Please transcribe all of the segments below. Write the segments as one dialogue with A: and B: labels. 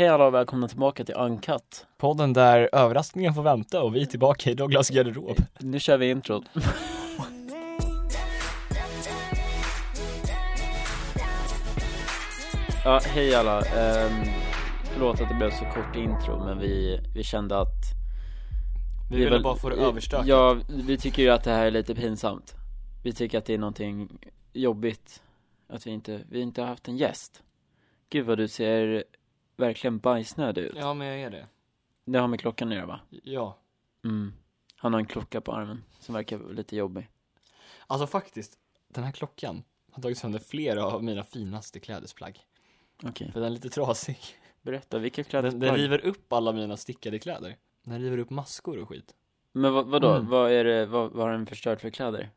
A: Hej alla och välkomna tillbaka till Uncut.
B: Podden där överraskningen får vänta och vi är tillbaka i Douglas garderob.
A: Nu kör vi introt. ja, hej alla. Um, förlåt att det blev så kort intro, men vi, vi kände att... det
B: Vi
A: är
B: ville
A: väl-
B: bara få det överstökat.
A: Ja, vi tycker ju att det här är lite pinsamt. Vi tycker att det är någonting jobbigt. Att vi inte, vi inte har haft en gäst. Gud vad du ser verkligen bajsnödig ut.
B: Ja, men jag är det.
A: Det har med klockan att göra va?
B: Ja.
A: Mm. Han har en klocka på armen som verkar lite jobbig.
B: Alltså faktiskt, den här klockan har tagit sönder flera av mina finaste klädesplagg.
A: Okej.
B: För den är lite trasig.
A: Berätta, vilka
B: Den,
A: klädesplagg?
B: den river upp alla mina stickade kläder. Den river upp maskor och skit.
A: Men vad, vadå,
B: Mm.
A: vad är det, vad, vad har den förstört för kläder?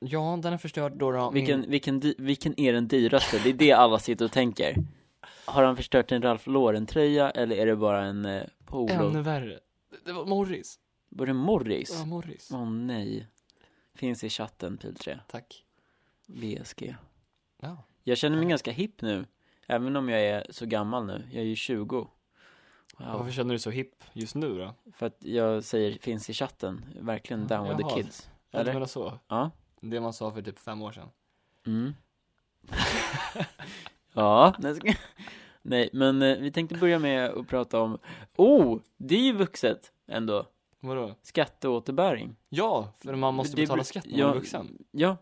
B: Ja, den är förstörd då då. Mm. min-
A: Vilken, vilken, dy- vilken är den dyraste? Det är det alla sitter och tänker. Har han förstört en Ralph Lauren-tröja eller är det bara en eh, polo?
B: Ännu värre. Det, det var Morris.
A: Var det Morris?
B: Ja,
A: Åh
B: Morris.
A: nej. Finns i chatten, pil 3.
B: Tack.
A: VSG.
B: Ja.
A: Jag känner
B: Mm.
A: mig ganska hipp nu. Även om jag är så gammal nu. Jag är ju 20. Wow.
B: Varför känner du dig så hipp just nu då?
A: För att jag säger finns i chatten. Verkligen down with
B: Jaha.
A: the kids.
B: Ja, du
A: Eller?
B: menar så?
A: Ja.
B: Det man sa för typ fem år sedan.
A: Mm. ja, nej, ska... nej men eh, vi tänkte börja med att prata om, oh, det är ju vuxet ändå,
B: Vadå?
A: skatteåterbäring.
B: Ja, för man måste
A: Det-
B: betala skatt när
A: ja,
B: man är vuxen.
A: Ja,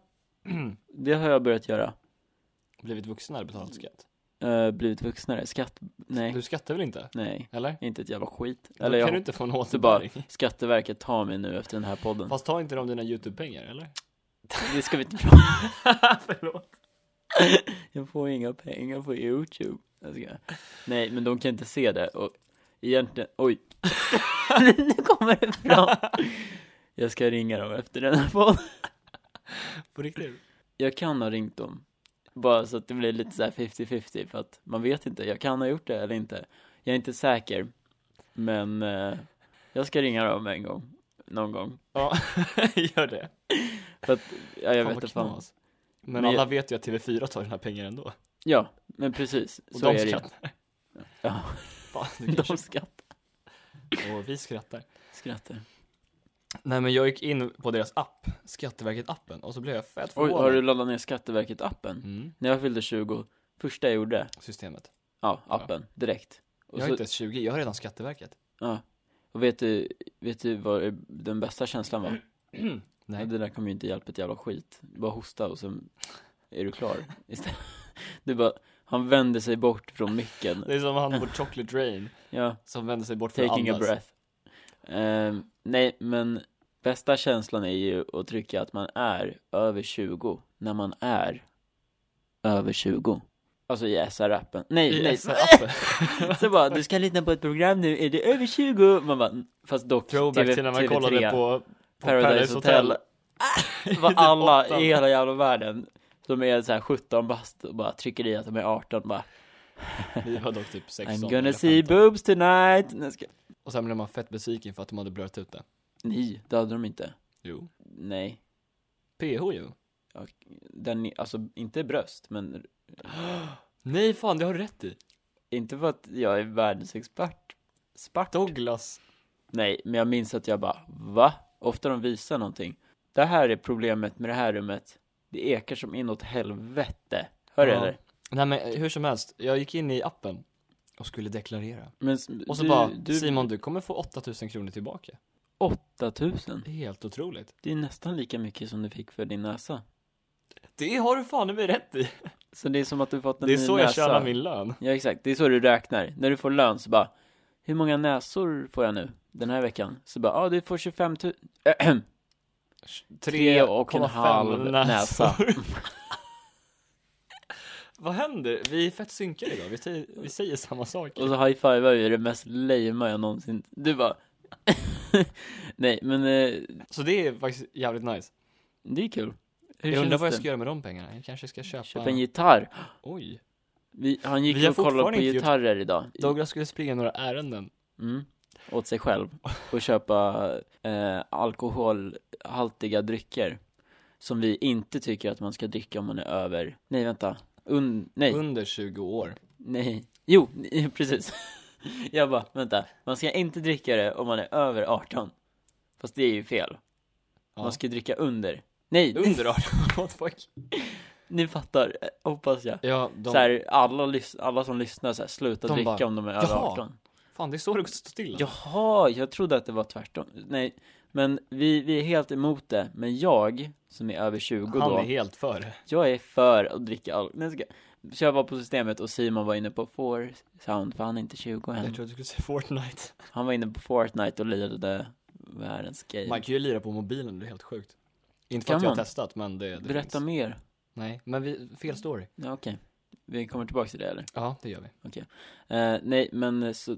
A: det har jag börjat göra,
B: Blivit vuxen är betalat skatt.
A: Eh, blivit vuxnare, skatt, nej,
B: Du skattar väl inte?
A: nej,
B: Eller?
A: inte ett jävla skit.
B: Då
A: Eller
B: kan du
A: jag,
B: inte få en
A: det bara,
B: återbäring.
A: Skatteverket tar mig nu efter den här podden.
B: Fast ta inte de dina YouTube-pengar, eller?
A: Det ska vi inte prata Förlåt. jag får inga pengar på YouTube. Jag ska... Nej, men de kan inte se det. Och egentligen, oj. nu kommer det fram. Jag ska ringa dem efter den här podden.
B: På riktigt?
A: Jag kan ha ringt dem. Bara så att det blir lite så här 50-50 för att man vet inte. Jag kan ha gjort det eller inte. Jag är inte säker. Men eh, jag ska ringa dem en gång. Någon gång.
B: Ja, gör det.
A: För att, ja, jag vet
B: Fan, vad
A: inte fan.
B: knas. Men
A: Men
B: alla
A: jag-
B: vet ju att TV4 tar dina pengar ändå.
A: Ja, men precis.
B: Och
A: så
B: de
A: är det ju.
B: skrattar.
A: Ja,
B: Fan, du
A: de
B: kanske...
A: skrattar.
B: Och vi skrattar.
A: Skrattar.
B: Nej, men jag gick in på deras app, Skatteverket-appen, och så blev jag fett
A: Oj,
B: förvånad.
A: har du laddat ner Skatteverket-appen?
B: Mm,
A: När jag fyllde 20, första jag gjorde,
B: systemet.
A: ja, appen, direkt. Och,
B: Jag är
A: så,
B: inte ens 20, jag har redan Skatteverket.
A: ja. och vet du, vet du vad den bästa känslan var?
B: Nej.
A: Det där kommer ju inte hjälpa ett jävla skit. Du bara hosta och sen är du klar istället. Du bara, han vänder sig bort från micken.
B: Det är som han på Chocolate Rain,
A: Ja,
B: som vänder sig bort för
A: taking a
B: andas.
A: breath. Ehm, nej, men bästa känslan är ju att trycka att man är över 20 när man är över 20. Alltså i SR-appen. Nej,
B: I
A: nej.
B: SR-appen.
A: Så bara, du ska lyssna på ett program nu, är du över 20? Man bara, fast dock,
B: Throwback
A: TV,
B: till när man
A: TV3,
B: kollade på, på
A: Paradise, Hotel, var
B: Typ
A: alla
B: åttan.
A: i hela jävla världen, de är såhär 17 bast och bara trycker i att de är 18 bara
B: Vi var dock typ 16
A: I'm
B: eller
A: gonna see
B: 15.
A: boobs tonight! Nej, jag ska-
B: Och sen blev man fett besviken för att de hade blurrat ut det.
A: Nej, det hade de inte.
B: Jo.
A: Nej.
B: PH ju.
A: Den, är- alltså inte bröst, men
B: Nej fan, det har du rätt i.
A: inte för att jag är världens expert. Spart.
B: Douglas.
A: Nej, men jag minns att jag bara, va? Ofta de visar någonting. Det här är problemet med det här rummet. Det ekar som inåt helvete. Hör du
B: Ja.
A: eller?
B: Nej men eh, hur som helst, jag gick in i appen och skulle deklarera.
A: Men
B: Och så bara, Simon du kommer få 8000 kronor tillbaka.
A: 8000.
B: Det är helt otroligt.
A: Det är nästan lika mycket som du fick för din näsa.
B: Det har du fan i mig rätt i.
A: Så det är som att du fått en
B: Det är
A: ny
B: så
A: näsa.
B: jag tjänar min lön.
A: Ja, exakt. Det är så du räknar. När du får lön så bara, hur många näsor får jag nu den här veckan? Så bara, ja ah, du får 25 000. Tre och en
B: 3,5
A: halv näsa.
B: Vad händer? Vi är fett synkade idag, vi säger, vi säger samma saker.
A: Och så high-fivar ju det mest lame jag någonsin, du bara Nej men eh,
B: Så det är faktiskt jävligt nice.
A: det är kul Hur
B: Jag undrar
A: känns
B: vad jag
A: det?
B: ska göra med de pengarna. Jag kanske ska köpa...
A: Köpa en gitarr
B: Oj.
A: Vi, Han gick
B: Vi har
A: och kollade
B: fortfarande
A: på
B: inte gjort-
A: gitarrer idag
B: Douglas skulle springa några ärenden.
A: mm. Åt sig själv och köpa eh, alkoholhaltiga drycker Som vi inte tycker att man ska dricka om man är över Nej vänta, Un... nej,
B: Under 20 år.
A: nej Jo, nej, precis Jag bara, vänta, man ska inte dricka det om man är över 18. Fast det är ju fel.
B: Ja.
A: Man ska dricka under. Nej,
B: Under 18, what the fuck?
A: ni fattar, eh, hoppas jag.
B: Ja, de,
A: Så här, alla, lys- alla som lyssnar så här, sluta
B: De
A: dricka
B: bara,
A: om de är över
B: "Jaha."
A: 18.
B: fan det är så det står stilla.
A: Jaha, jag trodde att det var tvärtom. Nej, men vi, vi är helt emot det. Men jag, som är över 20
B: Han
A: då,
B: är helt för det.
A: jag är för att dricka alkohol. Nej, jag ska- Så jag var på systemet och Simon var inne på four sound, för han är inte 20
B: Jag
A: än.
B: trodde du skulle säga Fortnite.
A: Han var inne på Fortnite och lirade världens game.
B: Man kan ju lira på mobilen, det är helt sjukt. Inte för
A: Kan
B: att jag har
A: man?
B: testat men det, det
A: Berätta
B: finns.
A: mer.
B: Nej, men vi, fel story.
A: Ja, okej. Vi kommer tillbaka till det eller?
B: Ja, det gör vi.
A: Eh, nej, men eh, så,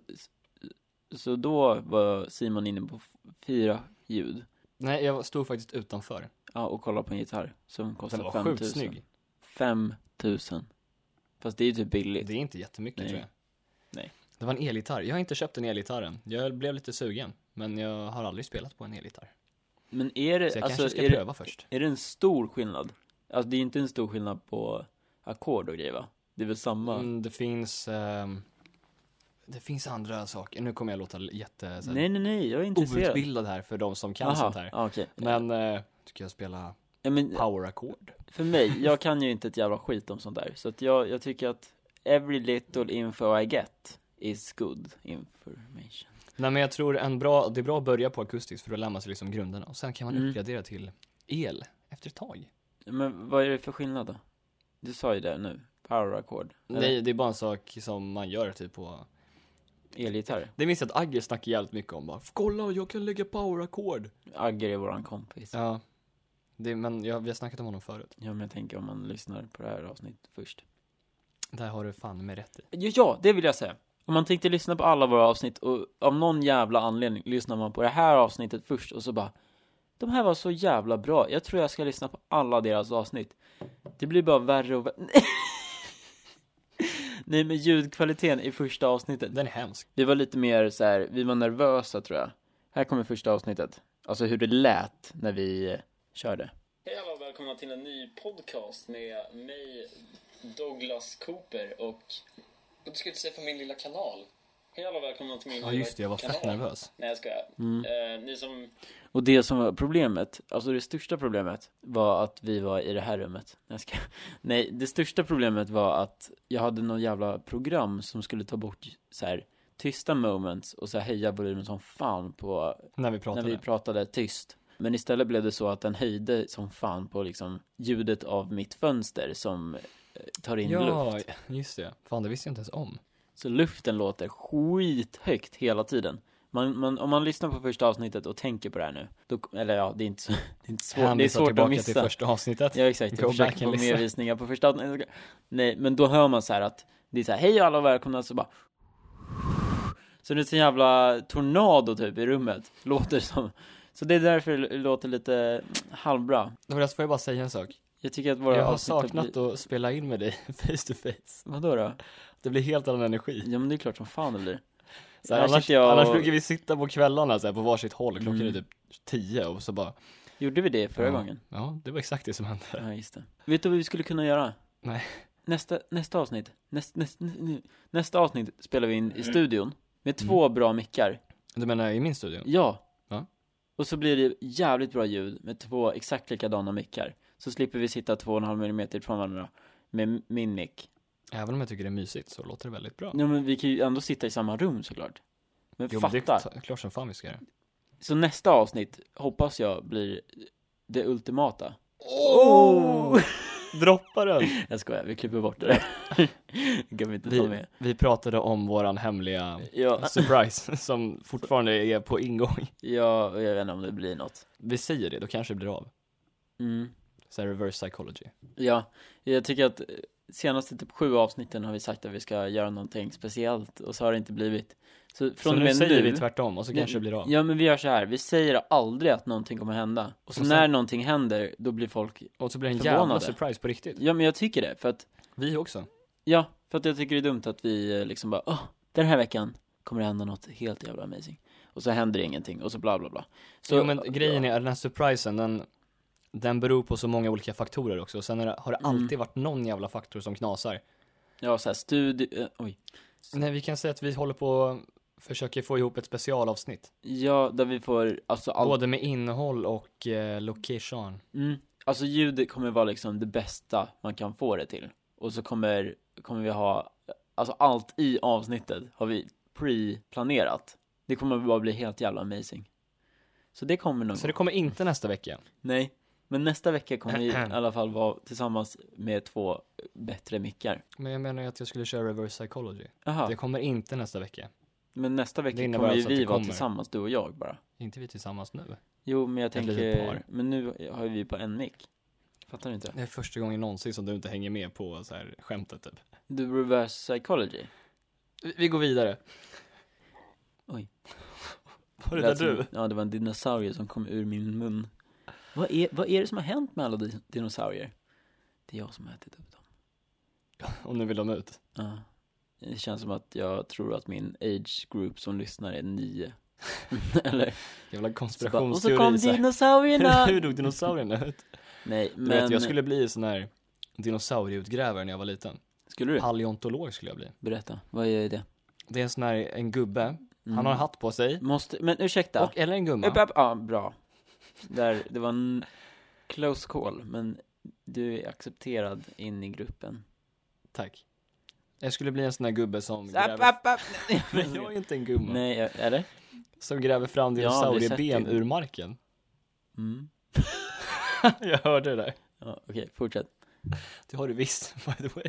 A: så då var Simon inne på f- fyra ljud.
B: Nej, jag stod faktiskt utanför.
A: Ja, och kollade på en gitarr som
B: Den
A: kostade
B: var
A: 5 000.
B: sjukt snygg.
A: 5 000. Fast det är ju typ billigt.
B: Det är inte jättemycket
A: Nej.
B: tror jag.
A: Nej.
B: Det var en elgitarr. Jag har inte köpt en elgitarr än. Jag blev lite sugen, men jag har aldrig spelat på en elgitarr.
A: Men är
B: Så
A: det,
B: jag
A: alltså,
B: kanske ska
A: är det,
B: pröva först.
A: är det en stor skillnad? Alltså det är inte en stor skillnad på ackord och grejer va? Det är väl samma?
B: Mm, det finns... ehm, det finns andra saker. Nu kommer jag låta jätte... så här,
A: nej, nej, nej, jag är intresserad.
B: Outbildad här för de som kan
A: Aha,
B: sånt här.
A: ja, okej.
B: Men, eh, ska jag spela
A: ja, men
B: powerackord?
A: för mig, jag kan ju inte ett jävla skit om sånt där. Så att jag, jag tycker att every little info I get is good information.
B: Nej men jag tror en bra, det är bra att börja på akustiskt för då lär man sig liksom grunderna och sen kan man
A: Mm.
B: uppgradera till el efter ett tag.
A: Men vad är det för skillnad då? Du sa ju det nu, powerackord. eller
B: Nej, det är bara en sak som man gör typ på...
A: Elgitarr.
B: Det minns jag att Agge snackade jävligt mycket om bara, kolla jag kan lägga powerackord.
A: Agger är våran kompis.
B: Ja. Det, men jag, vi har snackat om honom förut.
A: Ja men jag tänker om man lyssnar på det här avsnittet först
B: Där har du fan med rätt i.
A: Ja, ja, det vill jag säga! Om man tänkte lyssna på alla våra avsnitt och av någon jävla anledning lyssnar man på det här avsnittet först och så bara De här var så jävla bra, jag tror jag ska lyssna på alla deras avsnitt Det blir bara värre och värre Nej men ljudkvaliteten i första avsnittet
B: Den är hemsk.
A: Vi var lite mer så här, vi var nervösa tror jag Här kommer första avsnittet Alltså hur det lät när vi körde Hej alla och välkomna till en ny podcast med mig, Douglas Cooper och
C: Men Du ska inte säga för min lilla kanal.
A: Hej alla och välkomna till min
B: Ja just det, jag var fett nervös.
C: Nej, jag skojar.
A: Mm.
C: Eh, ni som...
A: Och det som var problemet, alltså det största problemet var att vi var i det här rummet. Nej, Jag ska... Nej, det största problemet var att jag hade någon jävla program som skulle ta bort så här tysta moments och så här höja volymen som fan på
B: När vi pratade.
A: när vi pratade tyst. Men istället blev det så att den höjde som fan på liksom ljudet av mitt fönster som eh, tar in luft.
B: ja, just det. Fan det visste jag inte ens om.
A: Så luften låter skithögt hela tiden. Man, man, om man lyssnar på första avsnittet och tänker på det här nu, då, eller ja, det är inte, så, det är inte svårt, det är
B: Hänvisar
A: svårt
B: tillbaka
A: att
B: till
A: missa.
B: första avsnittet.
A: Ja exakt,
B: Go
A: jag
B: back
A: försöker
B: and
A: få
B: listen.
A: mer visningar på första avsnittet. Nej, men då hör man så här att det är så här, hej alla och välkomna, så bara så det är en jävla tornado typ i rummet, låter som. Så det är därför det låter lite halvbra.
B: Douglas, får jag bara säga en sak?
A: Jag tycker att våra
B: Jag har
A: avsnitt
B: saknat
A: blir...
B: att spela in med dig face to face.
A: Vadå då?
B: Det blir helt annan energi.
A: Ja men det är klart som fan det blir.
B: Så här,
A: Här
B: annars,
A: sitter jag och-
B: annars brukar vi sitta på kvällarna så här, på varsitt håll, klockan
A: Mm.
B: är typ tio och så bara
A: Gjorde vi det förra
B: ja,
A: gången?
B: Ja, det var exakt det som hände.
A: Ja, just det. Vet du vad vi skulle kunna göra?
B: Nej.
A: Nästa, nästa avsnitt, näst, näst, nä- nästa avsnitt spelar vi in i studion med två bra mickar.
B: Du menar i min studio?
A: Ja.
B: Mm. Ja.
A: Och så blir det jävligt bra ljud med två exakt likadana mickar. Så slipper vi sitta två och en halv millimeter från varandra med min mick.
B: Även om jag tycker det är mysigt så låter det väldigt bra.
A: Ja, men vi kan ju ändå sitta i samma rum såklart. Men
B: Jo, men det
A: fatta.
B: är t- klart som fan vi ska göra.
A: Så nästa avsnitt hoppas jag blir det ultimata.
B: Oh! Droppa den!
A: Jag skojar, vi klipper bort det där. Det kan vi inte ta
B: Vi,
A: med.
B: vi pratade om våran hemliga
A: Ja,
B: surprise som fortfarande är på ingång.
A: ja, jag vet inte om det blir något.
B: Vi säger det, då kanske det blir av.
A: Mm.
B: Så här, reverse psychology.
A: Ja, jag tycker att eh, senaste typ sju avsnitten har vi sagt att vi ska göra någonting speciellt och så har det inte blivit. Så från
B: så
A: och
B: nu
A: med
B: säger
A: nu,
B: vi tvärtom och så kanske det blir av.
A: Ja men vi gör så här, vi säger aldrig att någonting kommer hända. Och så
B: Och sen-
A: när någonting händer, då blir folk,
B: Och så blir det en jävla
A: Förvånade.
B: surprise på riktigt.
A: ja men jag tycker det, för att,
B: Vi också.
A: ja, för att jag tycker det är dumt att vi eh, liksom bara, åh, den här veckan kommer det hända något helt jävla amazing. Och så händer det ingenting, och så bla bla bla. Så,
B: jo men grejen är, den här surprisen, den, den beror på så många olika faktorer
A: Mm.
B: också. Sen är det, har det alltid varit någon jävla faktor som knasar.
A: Ja, så här, studie, eh, oj,
B: Nej, vi kan säga att vi håller på och försöker få ihop ett specialavsnitt.
A: Ja, där vi får, alltså allt,
B: Både med innehåll och eh, location.
A: mm, alltså ljudet kommer vara liksom det bästa man kan få det till. Och så kommer, kommer vi ha, alltså allt i avsnittet har vi pre-planerat. Det kommer bara bli helt jävla amazing. Så det kommer nog.
B: Så det kommer inte nästa vecka.
A: Nej, men nästa vecka kommer vi i alla fall vara tillsammans med två bättre mickar.
B: Men jag menar ju att jag skulle köra reverse psychology.
A: Jaha,
B: Det kommer inte nästa vecka.
A: men nästa vecka
B: innebär
A: kommer ju
B: alltså att
A: vi
B: det
A: vara
B: kommer.
A: tillsammans, du och jag bara.
B: Inte vi tillsammans nu.
A: Jo, men jag
B: Ett litet par.
A: tänker, men nu har ju vi på en mick. Fattar du inte?
B: Det är första gången någonsin som du inte hänger med på så här skämtet typ.
A: Du reverse psychology.
B: Vi- Vi går vidare.
A: Oj.
B: Var det där
A: Lät som-
B: du?
A: Ja, det var en dinosaurie som kom ur min mun. Vad är, vad är det som har hänt med alla di- dinosaurier? Det är jag som har ätit upp dem.
B: Om nu vill de ut.
A: Ja. Det känns som att jag tror att min age group som lyssnar är nio. Eller?
B: Jävla
A: Så bara, och så
B: konspirationsteori.
A: kom
B: så här.
A: dinosaurierna!
B: Hur dog dinosaurierna ut?
A: Nej,
B: Du
A: men...
B: vet, jag skulle bli sån här dinosaurieutgrävare när jag var liten.
A: Skulle du?
B: Paleontolog skulle jag bli.
A: Berätta, vad är det?
B: Det är en sån här, en gubbe,
A: Mm.
B: han har en hatt på sig,
A: Måste, men ursäkta.
B: och, eller en gumma.
A: Upp, upp, ja, bra. Där, det var en close call, men du är accepterad in i gruppen.
B: Tack. Jag skulle bli en sån här gubbe som
A: Upp,
B: gräver...
A: upp, upp.
B: Men jag är inte en gumma.
A: Nej, jag- eller?
B: Som gräver fram
A: Jag har aldrig
B: dinosaurieben
A: sett det.
B: ur marken.
A: Mm.
B: jag hörde det där.
A: Ja, okej, fortsätt.
B: Det har du visst, by the way.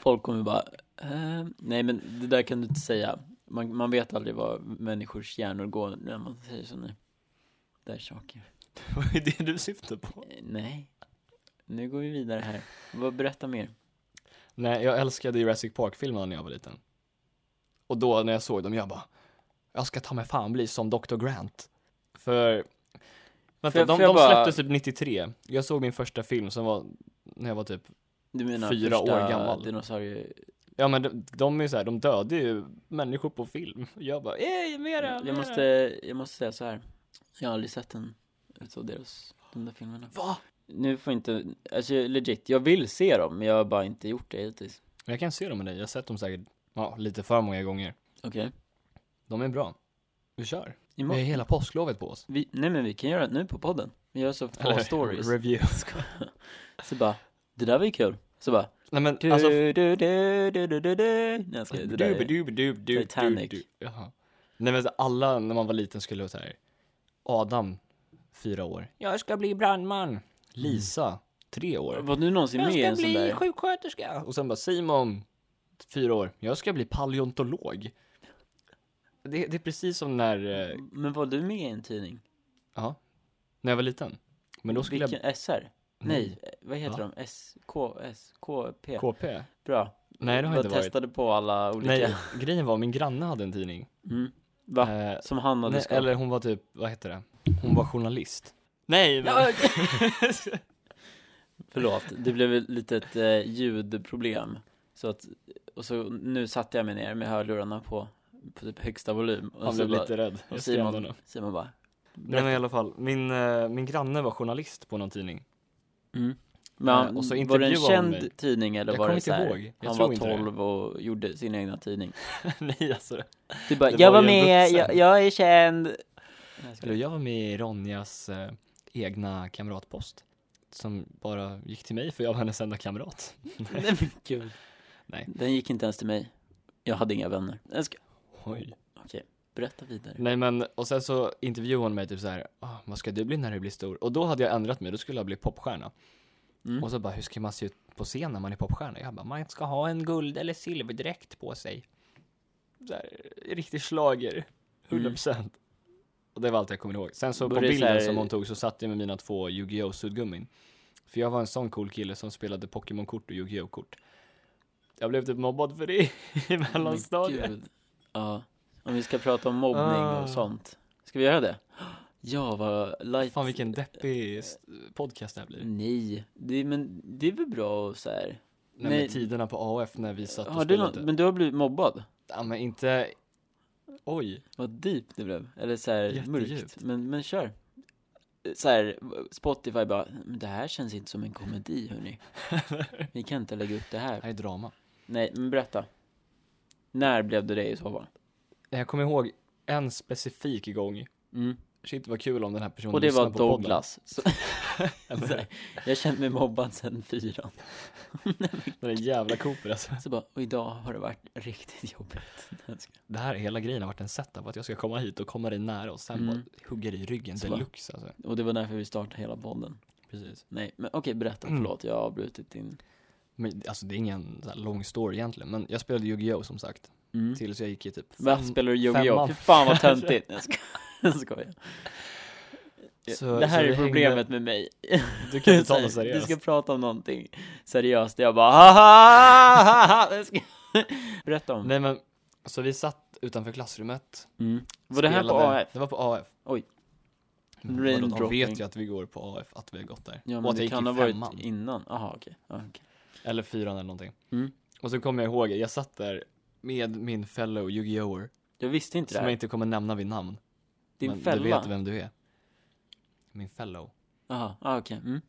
A: Folk kommer bara, ehm, nej men det där kan du inte säga. Man, man vet aldrig vad människors hjärnor går när man säger sådana där saker.
B: Vad är det du syftar på?
A: Eh, Nej. Nu går vi vidare här. Vad, berätta mer.
B: Nej, jag älskade Jurassic Park-filmerna när jag var liten. Och då när jag såg dem, jag bara, jag ska ta mig fan bli som Dr. Grant. För, vänta,
A: jag-
B: de,
A: får jag
B: de
A: bara-
B: släpptes typ 93. Jag såg min första film som var, när jag var typ,
A: Du menar
B: Fyra
A: första
B: år gammal.
A: dinosaurie...
B: ja men de, de är ju såhär, de dödar ju människor på film. Jag bara, ej, mera, mera.
A: Jag måste, jag måste säga så här. Jag har aldrig sett en utav deras, de där filmerna.
B: Va?
A: Nu får inte, alltså legit, jag vill se dem, men jag har bara inte gjort det hittills.
B: Jag kan se dem med dig, jag har sett dem säkert, ja, lite för många gånger.
A: Okej.
B: De är bra. Vi kör. Vi har
A: Imorgon,
B: hela påsklovet på oss.
A: vi, nej men vi kan göra det nu på podden. Vi gör så få stories.
B: Review.
A: Så bara, det där var ju kul. Så bara,
B: Nej men
A: du,
B: alltså,
A: du, du, du, du, du, du, Nej jag skojar, det där är,
B: Dub-dub-dub-dub-dub.
A: Titanic.
B: Jaha. Nej men så alla när man var liten skulle vara så här. Adam, fyra år. Jag ska bli brandman. Lisa, tre år.
A: Var du någonsin med i en sån där?
B: sjuksköterska. Och sen bara Simon, fyra år. Jag ska bli paleontolog. Det, det är precis som när, eh,
A: Men var du med i en tidning?
B: ja, när jag var liten. Men då skulle
A: Vilken, SR?
B: jag...
A: Nej, eh, vad heter
B: Va?
A: de? SKS, KP?
B: KP?
A: Bra.
B: Nej, det har jag
A: Bara
B: inte varit.
A: testade på alla olika.
B: Nej, grejen var min granne hade en tidning.
A: Mm. Va?
B: Eh,
A: Som han hade
B: Nej,
A: skapat.
B: eller hon var typ, vad heter det? Hon var journalist. Nej, men...
A: Ja, Förlåt, det blev ett litet eh, ljudproblem. Så att, och så nu satte jag mig ner med hörlurarna på, på typ högsta volym. Och
B: Han
A: så
B: blev
A: bara,
B: lite rädd.
A: och
B: Jag skrämde
A: Simon,
B: honom.
A: Simon bara.
B: Nej men i alla fall, min, eh, min granne var journalist på någon tidning.
A: Mm. Men han,
B: och så
A: var det en
B: intervjuade hon
A: känd
B: mig.
A: tidning eller
B: Jag
A: var det
B: kommer inte
A: så här,
B: ihåg. Jag
A: Han
B: tror
A: var
B: inte det.
A: 12 och gjorde sin egna tidning.
B: Nej alltså.
A: Du bara,
B: Det
A: jag
B: var
A: var
B: ju en
A: med,
B: vuxen."
A: jag, jag är känd. Nej, jag skojar.
B: Eller jag var med i Ronjas eh, egna kamratpost. Som bara gick till mig för jag var hennes enda kamrat.
A: Nej men gud.
B: Nej.
A: Den gick inte ens till mig. Jag hade inga vänner. Jag ska...
B: Oj.
A: Berätta vidare.
B: Nej men, och sen så intervjuade hon mig typ så här, ah, vad ska du bli när du blir stor? Och då hade jag ändrat mig, då skulle jag bli popstjärna.
A: Mm.
B: Och så bara, hur ska man se ut på scen när man är popstjärna? Jag bara, man ska ha en guld eller silverdräkt på sig. Så här, riktig
A: Mm.
B: schlager. 100%. Och det var allt jag kommer ihåg. Sen så
A: Började
B: på
A: så
B: bilden
A: här-
B: som hon tog så satt jag med mina två Yu-Gi-Oh! suddgummin. För jag var en sån cool kille som spelade Pokémon-kort och Yu-Gi-Oh!-kort. Jag blev typ mobbad för det i mellanstadiet.
A: gud. Ja. Om vi ska prata om mobbning
B: Ah.
A: och sånt. Ska vi göra det? Ja, vad light.
B: Fan vilken deppig s- podcast det här
A: Mm.
B: blir.
A: Nej, det, men det är väl bra och så här.
B: Nej,
A: Nej.
B: men tiderna på AF när vi satt och
A: Har du
B: spelade. typ-
A: någon, men du har blivit mobbad?
B: Ja men inte... Oj.
A: Vad deep det blev. Eller så här mörkt.
B: Jättedjupt.
A: Men, men kör. Så här, Spotify bara, "Men det här känns inte som en komedi hörni. Vi kan inte lägga upp det
B: Det
A: här.
B: här är drama.
A: Nej, men berätta. När blev du det i så fall?
B: Jag kommer ihåg en specifik gång.
A: Mm.
B: Shit vad kul om den här personen
A: Och det
B: lyssnar
A: var
B: på podden.
A: Douglas.
B: Alltså,
A: Så,
B: Eller
A: så här, jag känner mig mobbad sedan fyran.
B: Den där jävla Cooper alltså.
A: Så bara, och idag har det varit riktigt jobbigt.
B: Det här hela grejen har varit en setup, att jag ska komma hit och komma dig nära och sen
A: Mm.
B: bara hugga dig i ryggen
A: Så.
B: deluxe alltså.
A: Och det var därför vi startade hela podden.
B: Precis. Mm.
A: Nej, men okej, berätta. Förlåt, jag har avbrutit din...
B: Men alltså det är ingen så här lång story egentligen, men jag spelade Yu-Gi-Oh som sagt.
A: Mm.
B: Tills jag gick i typ
A: Vad
B: fem-
A: spelar du Yu-Gi-Oh?
B: femman.
A: Fy fan vad töntigt. Jag skojar. Jag skojar.
B: Så-
A: det här
B: så
A: är
B: vi
A: problemet
B: hängde-
A: med mig.
B: Du kan inte
A: Så
B: ta
A: här,
B: något seriöst.
A: Du ska prata om någonting seriöst. Jag bara haha! Jag ska- Berätta om.
B: Nej men, så vi satt utanför klassrummet.
A: Mm. Var det här på
B: spelade-
A: AF?
B: Det var på AF.
A: Oj.
B: Men
A: Rain
B: vadå, de
A: dropping.
B: vet ju att vi går på AF, att vi har gått där.
A: Ja
B: och
A: men
B: att jag
A: det
B: gick
A: kan
B: i
A: ha varit
B: femman.
A: innan. Jaha okej. Ja, okej.
B: Eller fyran eller någonting.
A: Mm.
B: Och så kommer jag ihåg, jag satt där med min fellow Yu-Gi-Oh-er.
A: Jag visste inte det
B: Som jag
A: här.
B: inte kommer nämna vid namn.
A: Din
B: men
A: fälla?
B: du vet vem du är. Min fellow.
A: Jaha, ah, okej. Mm.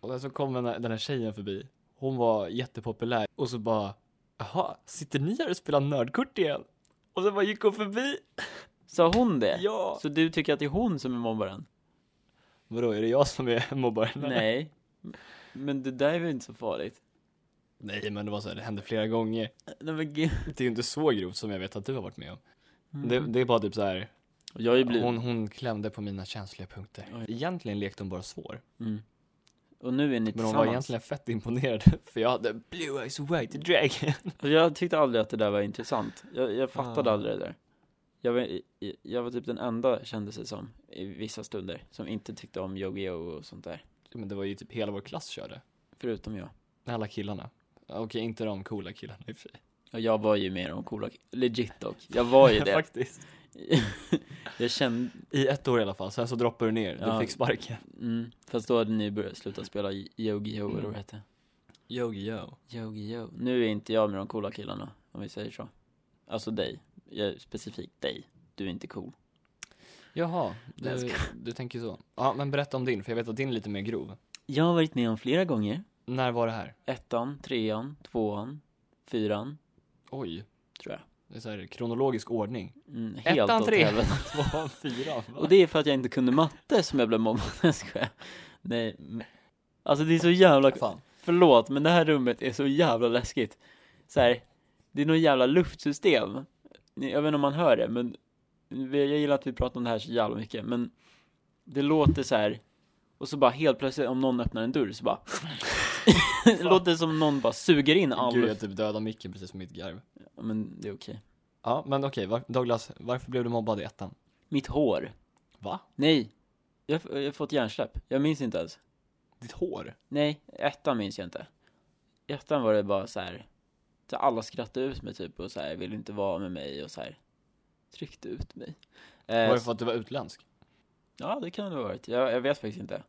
B: Och sen så kom den här, den här tjejen förbi. Hon var jättepopulär. Och så bara, jaha, sitter ni här och spelar nördkort igen? Och sen bara gick hon förbi.
A: Sa hon det?
B: Ja.
A: Så du tycker att det är hon som är mobbaren?
B: Vadå, är det jag som är mobbaren? eller?
A: Nej. Men det där är väl inte så farligt?
B: Nej, men det var så här, det hände flera gånger.
A: Nej men gud.
B: Det är ju inte så grovt som jag vet att du har varit med om.
A: Mm.
B: Det, det är bara typ så här,
A: Jag har ju blivit...
B: hon, hon klämde på mina känsliga punkter.
A: Oj.
B: Egentligen lekte hon bara svår.
A: Mm. Och nu är ni
B: Men hon var
A: tillsammans.
B: egentligen fett imponerad för jag hade blue eyes white dragon.
A: Och Alltså, jag tyckte aldrig att det där var intressant. Jag, jag fattade
B: Ah.
A: aldrig det där. Jag var, jag var typ den enda, kändes det som, i vissa stunder, som inte tyckte om Yu-Gi-Oh och sånt där.
B: Men det var ju typ hela vår klass körde.
A: Förutom jag.
B: Alla killarna. Okej, inte de coola killarna i och för sig.
A: Och jag var ju med om coola, legit dock. Jag var ju det.
B: Faktiskt.
A: jag kände,
B: I ett år i alla fall, sen så droppade du ner.
A: Ja.
B: Du fick sparken.
A: mm, fast då hade ni börjat sluta spela Yu-Gi-Oh eller vad
B: Mm.
A: det hette.
B: Yogi yo.
A: Yu-Gi-Oh. Nu är inte jag med de coola killarna, om vi säger så. Alltså dig. Jag, specifikt dig. Du är inte cool.
B: Jaha,
A: Nej, jag
B: du, du tänker så. Ja, men berätta om din, för jag vet att din är lite mer grov.
A: Jag har varit med om flera gånger.
B: När var det här?
A: Ettan, trean, tvåan, fyran,
B: Oj,
A: tror jag.
B: det är så här kronologisk ordning.
A: Mm, helt
B: Ettan,
A: åt
B: trean,
A: helvete.
B: tvåan, fyran. va?
A: Och det är för att jag inte kunde matte som jag blev mobbad, jag skojar. Nej, men- alltså det är så jävla,
B: Fan.
A: förlåt men det här rummet är så jävla läskigt. Så här, det är något jävla luftsystem. Ni- Jag vet inte om man hör det, men vi- jag gillar att vi pratar om det här så jävla mycket, men det låter så här. Och så bara helt plötsligt om någon öppnar en dörr så bara Det låter som någon bara suger in all
B: Gud, jag typ dödade micken precis med mitt garv.
A: Ja, Men det är okej
B: Ja, men okej, var, Douglas, varför blev du mobbad i ettan?
A: Mitt hår
B: Va?
A: Nej, jag, jag har fått hjärnsläpp. Jag minns inte ens.
B: Ditt hår?
A: Nej, ettan minns jag inte. I ettan var det bara så här. Så alla skrattade ut mig typ och så här ville inte vara med mig och så här tryckte ut mig. Eh,
B: Var det för att du var utländsk?
A: Ja, det kan det ha varit. Jag, jag vet faktiskt inte.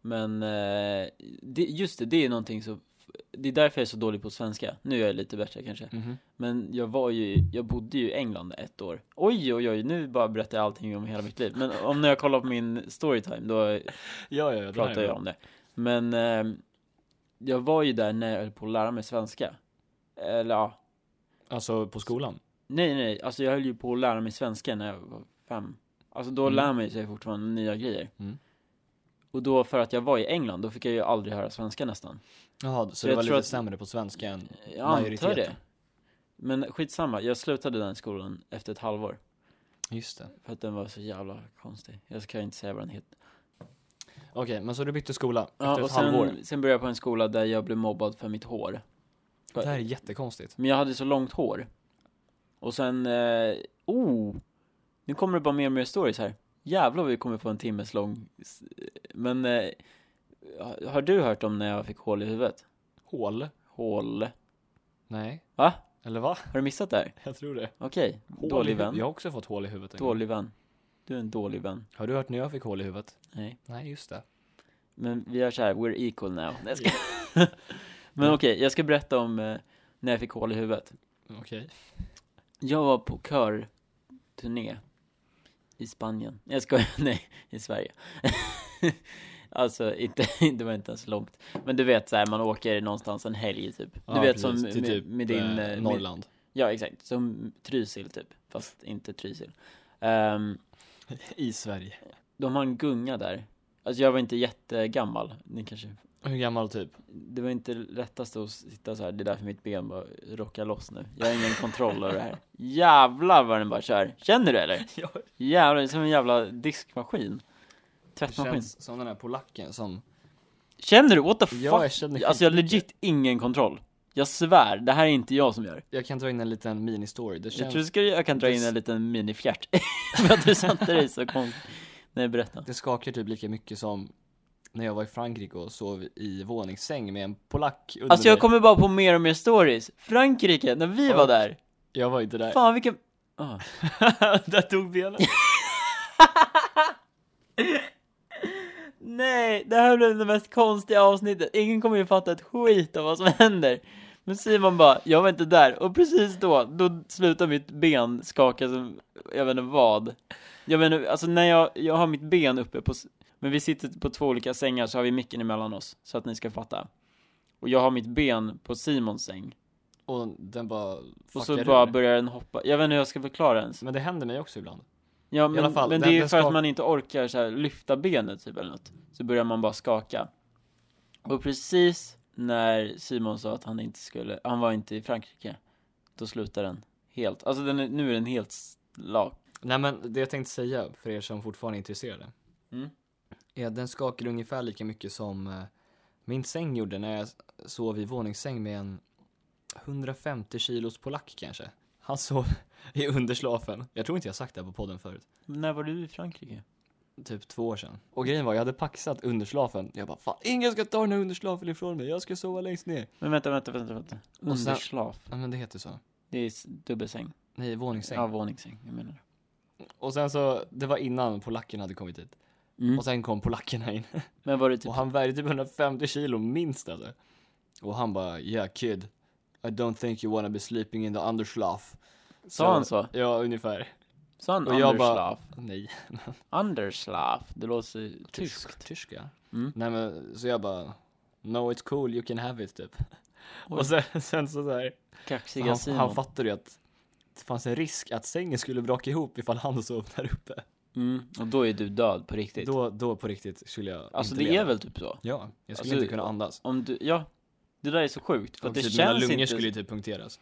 A: Men eh, det, just det, det är någonting som det är därför jag är så dålig på svenska. Nu är jag lite bättre kanske.
B: Mhm.
A: Men jag var ju, jag bodde ju i England ett år. Oj, oj, oj, nu bara berättar jag allting om hela mitt liv. Men om när jag kollar på min storytime, då
B: Ja, ja, ja. det här är
A: pratar jag
B: bra.
A: om det. Men eh, jag var ju där när jag höll på att lära mig svenska. Eller ja,
B: Alltså på skolan?
A: nej nej, alltså jag höll ju på att lära mig svenska när jag var fem. Alltså då
B: Mm.
A: lär man ju sig fortfarande nya grejer.
B: Mm.
A: Och då för att jag var i England, då fick jag ju aldrig höra svenska nästan.
B: Jaha, så
A: jag
B: det var
A: tror
B: lite
A: att-
B: sämre på svenska än
A: Jag antar det. Men skitsamma, jag slutade den skolan efter ett halvår.
B: Just det.
A: För att den var så jävla konstig. Jag ska inte säga vad den heter.
B: Okej, men så du bytte skola efter
A: Ja,
B: ett
A: och
B: halvår?
A: sen, sen började jag på en skola där jag blev mobbad för mitt hår.
B: Det här är jättekonstigt.
A: Men jag hade så långt hår. Och sen, eh, oh! Nu kommer det bara mer och mer stories här. Jävlar vad vi kommer få en timmes lång. s- Men, eh, har- har du hört om när jag fick hål i huvudet?
B: Hål?
A: Hål.
B: Nej.
A: Va?
B: Eller va?
A: Har du missat det här?
B: Jag tror det.
A: Okej,
B: Hål i
A: dålig
B: huvudet.
A: vän.
B: Jag har också fått hål i huvudet. en gång.
A: Dålig vän. Du är en dålig vän.
B: Har du hört när jag fick hål i huvudet?
A: Nej.
B: Nej, just det.
A: Men vi gör så här, we're equal now. Nej, jag ska... Men okej, jag ska berätta om eh, när jag fick hål i huvudet.
B: Okej.
A: Jag var på körturné i Spanien. Jag skojar, nej, i Sverige. alltså, inte, det var inte ens långt. Men du vet så här, man åker någonstans en helg typ. Du
B: Ja,
A: vet som
B: precis. Till
A: med, med din...
B: eh,
A: eh,
B: Norrland.
A: Ja, exakt. Som Trysil typ, fast inte Trysil. Ehm,
B: I Sverige.
A: de har en gunga där. Alltså jag var inte jättegammal, ni kanske...
B: Hur gammal typ?
A: Det var inte lättast att sitta så här. det är därför mitt ben bara rockar loss nu. Jag har ingen kontroll över det här. Jävlar vad den bara kör! Känner du eller?
B: Ja.
A: Jävlar, det är som en jävla diskmaskin.
B: Det
A: Tvättmaskin.
B: känns som den här polacken som...
A: Känner du? What the fuck?
B: Ja, jag känner
A: alltså jag har
B: skitmycket.
A: legit ingen kontroll. Jag svär, det här är inte jag som gör det.
B: Jag kan dra in en liten mini-story. Det
A: Jag
B: känns...
A: tror ska, jag kan dra in en liten minifjärt. För att du satte dig så konstigt. Nej, berätta.
B: Det skakar typ lika mycket som när jag var i Frankrike och sov i våningssäng med en polack under
A: Alltså jag
B: mig.
A: kommer bara på mer och mer stories. Frankrike, när vi var där.
B: Jag var inte där.
A: Fan vilken... Ah.
B: där tog benet.
A: Nej, det här blev det mest konstiga avsnittet. Ingen kommer ju fatta ett skit av vad som händer. Men Simon bara, jag var inte där. Och precis då, då slutar mitt ben skaka som, jag vet inte vad. Jag vet inte, alltså när jag, jag har mitt ben uppe på, s- men vi sitter på två olika sängar så har vi micken emellan oss. Så att ni ska fatta. Och jag har mitt ben på Simons säng.
B: Och den bara
A: Och
B: fuckar
A: så
B: ur.
A: bara börjar den hoppa. Jag vet inte hur jag ska förklara ens.
B: Men det händer mig också ibland.
A: Ja men,
B: alla fall,
A: men det
B: den-
A: är ju
B: den
A: för att
B: skak-
A: man inte orkar så här, lyfta benet typ eller något Så börjar man bara skaka Och precis när Simon sa att han inte skulle, han var inte i Frankrike Då slutar den helt, alltså den är, nu är den helt slak
B: Nej men det jag tänkte säga för er som fortfarande är intresserade.
A: Mm.
B: Är att den skakar ungefär lika mycket som eh, min säng gjorde när jag sov i våningssäng med en 150 kilos polack kanske. Han sov i underslafen. Jag tror inte jag sagt det här på podden förut.
A: När var du i Frankrike?
B: Typ två år sedan. Och grejen var, jag hade paxat underslafen. Jag bara, fan ingen ska ta den här underslafen ifrån mig. Jag ska sova längst ner.
A: Men vänta, vänta, vänta, vänta
B: Och sen-
A: Underslav,
B: Ja men det heter så.
A: det är s- dubbelsäng
B: Nej, våningssäng.
A: Ja, våningssäng, jag menar det.
B: Och sen så, det var innan polacken hade kommit hit.
A: mm.
B: Och sen kom polackerna in.
A: Men var det typ,
B: Och han vägde typ 150 kilo minst alltså. Och han bara, yeah kid. I don't think you wanna be sleeping in the underslaf.
A: sa han så?
B: Ja, ungefär.
A: Sa han
B: Och jag bara-
A: underslav?
B: Nej.
A: Underslav, det låter tyskt
B: Tysk ja.
A: Mm.
B: Nej men, så jag bara, no it's cool, you can have it typ.
A: Oj.
B: Och sen, sen så såhär.
A: Kaxiga
B: Han,
A: Simon
B: han fattade ju att det fanns en risk att sängen skulle braka ihop ifall han sov där uppe.
A: Mm, och då är du död på riktigt.
B: Då, då på riktigt skulle jag
A: alltså
B: inte
A: det
B: leva.
A: är väl typ så?
B: Ja, jag skulle
A: Alltså,
B: inte kunna andas.
A: Om du, ja. Det där är så sjukt, för
B: Och
A: att det
B: typ mina
A: känns
B: lungor
A: inte,
B: skulle ju typ punkteras.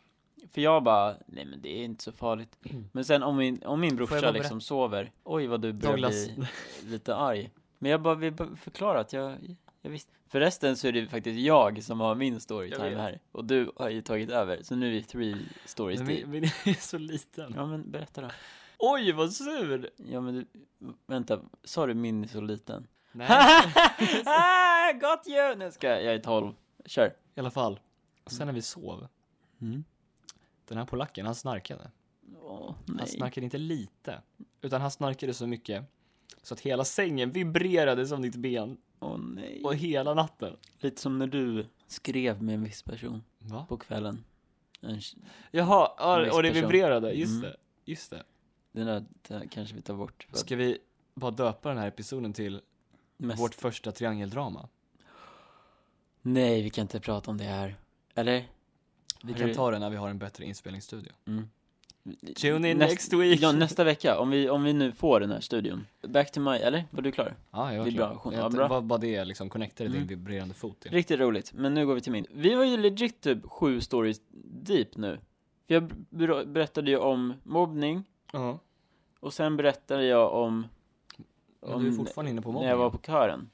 A: för jag bara, nej men det är inte så farligt. Men sen om min, om min
B: jag
A: brorsa
B: bara
A: liksom sover, oj vad du börjar
B: Douglas.
A: bli lite arg. Men jag bara vill bara förklara att jag, jag visste. Förresten så är det faktiskt jag som har min
B: Jag
A: storytime
B: vet.
A: här, och du har ju tagit över, så nu är vi three stories
B: Men
A: till.
B: min, min är så liten.
A: Ja men berätta då.
B: Oj, vad sur!
A: Ja men du, vänta, sa du min är så liten?
B: Nej.
A: ah, got you! Nu ska jag, jag är 12. Kör.
B: I alla fall, och sen när vi sov,
A: Mm.
B: den här polacken, han snarkade.
A: Åh,
B: Han
A: nej.
B: snarkade inte lite, utan han snarkade så mycket så att hela sängen vibrerade som ditt ben,
A: Åh nej.
B: och hela natten.
A: Lite som när du skrev med en viss person
B: Va?
A: på kvällen. En, tj-
B: Jaha, ja,
A: Viss
B: och det
A: person.
B: vibrerade, just
A: Mm.
B: det. Just det.
A: den där, den här kanske vi tar bort. För att
B: Ska vi bara döpa den här episoden till
A: mest...
B: vårt första triangeldrama?
A: Nej, vi kan inte prata om det här. Eller?
B: Vi
A: Hur-
B: kan ta det när vi har en bättre inspelningsstudio.
A: Mm.
B: Tune in
A: Näst-
B: next week!
A: Ja, nästa vecka. Om vi, om vi nu får den här studion. Back to my, eller? Var du klar?
B: Ja, jag var
A: Vibration,
B: klar.
A: ja,
B: Jag-
A: bra.
B: Vad vad det är liksom connectade
A: Mm.
B: din vibrerande fot till.
A: Riktigt roligt, men nu går vi till min. Vi var ju legit typ sju stories deep nu. För jag ber- berättade ju om mobbning,
B: Ja.
A: och sen berättade jag om
B: Men du är fortfarande inne på
A: när jag var
B: mobbningen.
A: på kören.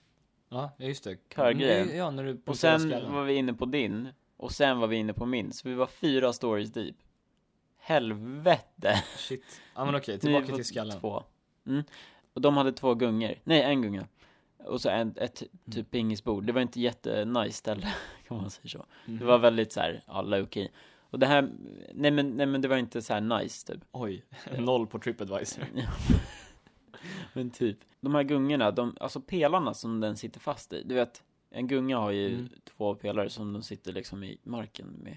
B: Ja, ja, just det.
A: Körgrejen.
B: Ja, när du
A: Och
B: punkterar
A: sen
B: skallen.
A: var vi inne på din, och sen var vi inne på min, så vi var fyra stories deep. Helvete!
B: Shit. Ja men okej,
A: Nu är vi
B: tillbaka
A: på
B: till skallen.
A: Två. Mm. Och de hade två gungor, nej en gunga. Och så en, ett
B: Mm.
A: typ pingisbord, det var inte jättenice ställe, kan man säga så.
B: Mm.
A: Det var väldigt så här, ja, low key. Och det här, nej men, nej men det var inte så här nice typ.
B: Oj, noll på Tripadvisor.
A: Men typ, de här gungorna, de, alltså pelarna som den sitter fast i, du vet, en gunga har ju
B: Mm.
A: två pelare som de sitter liksom i marken med.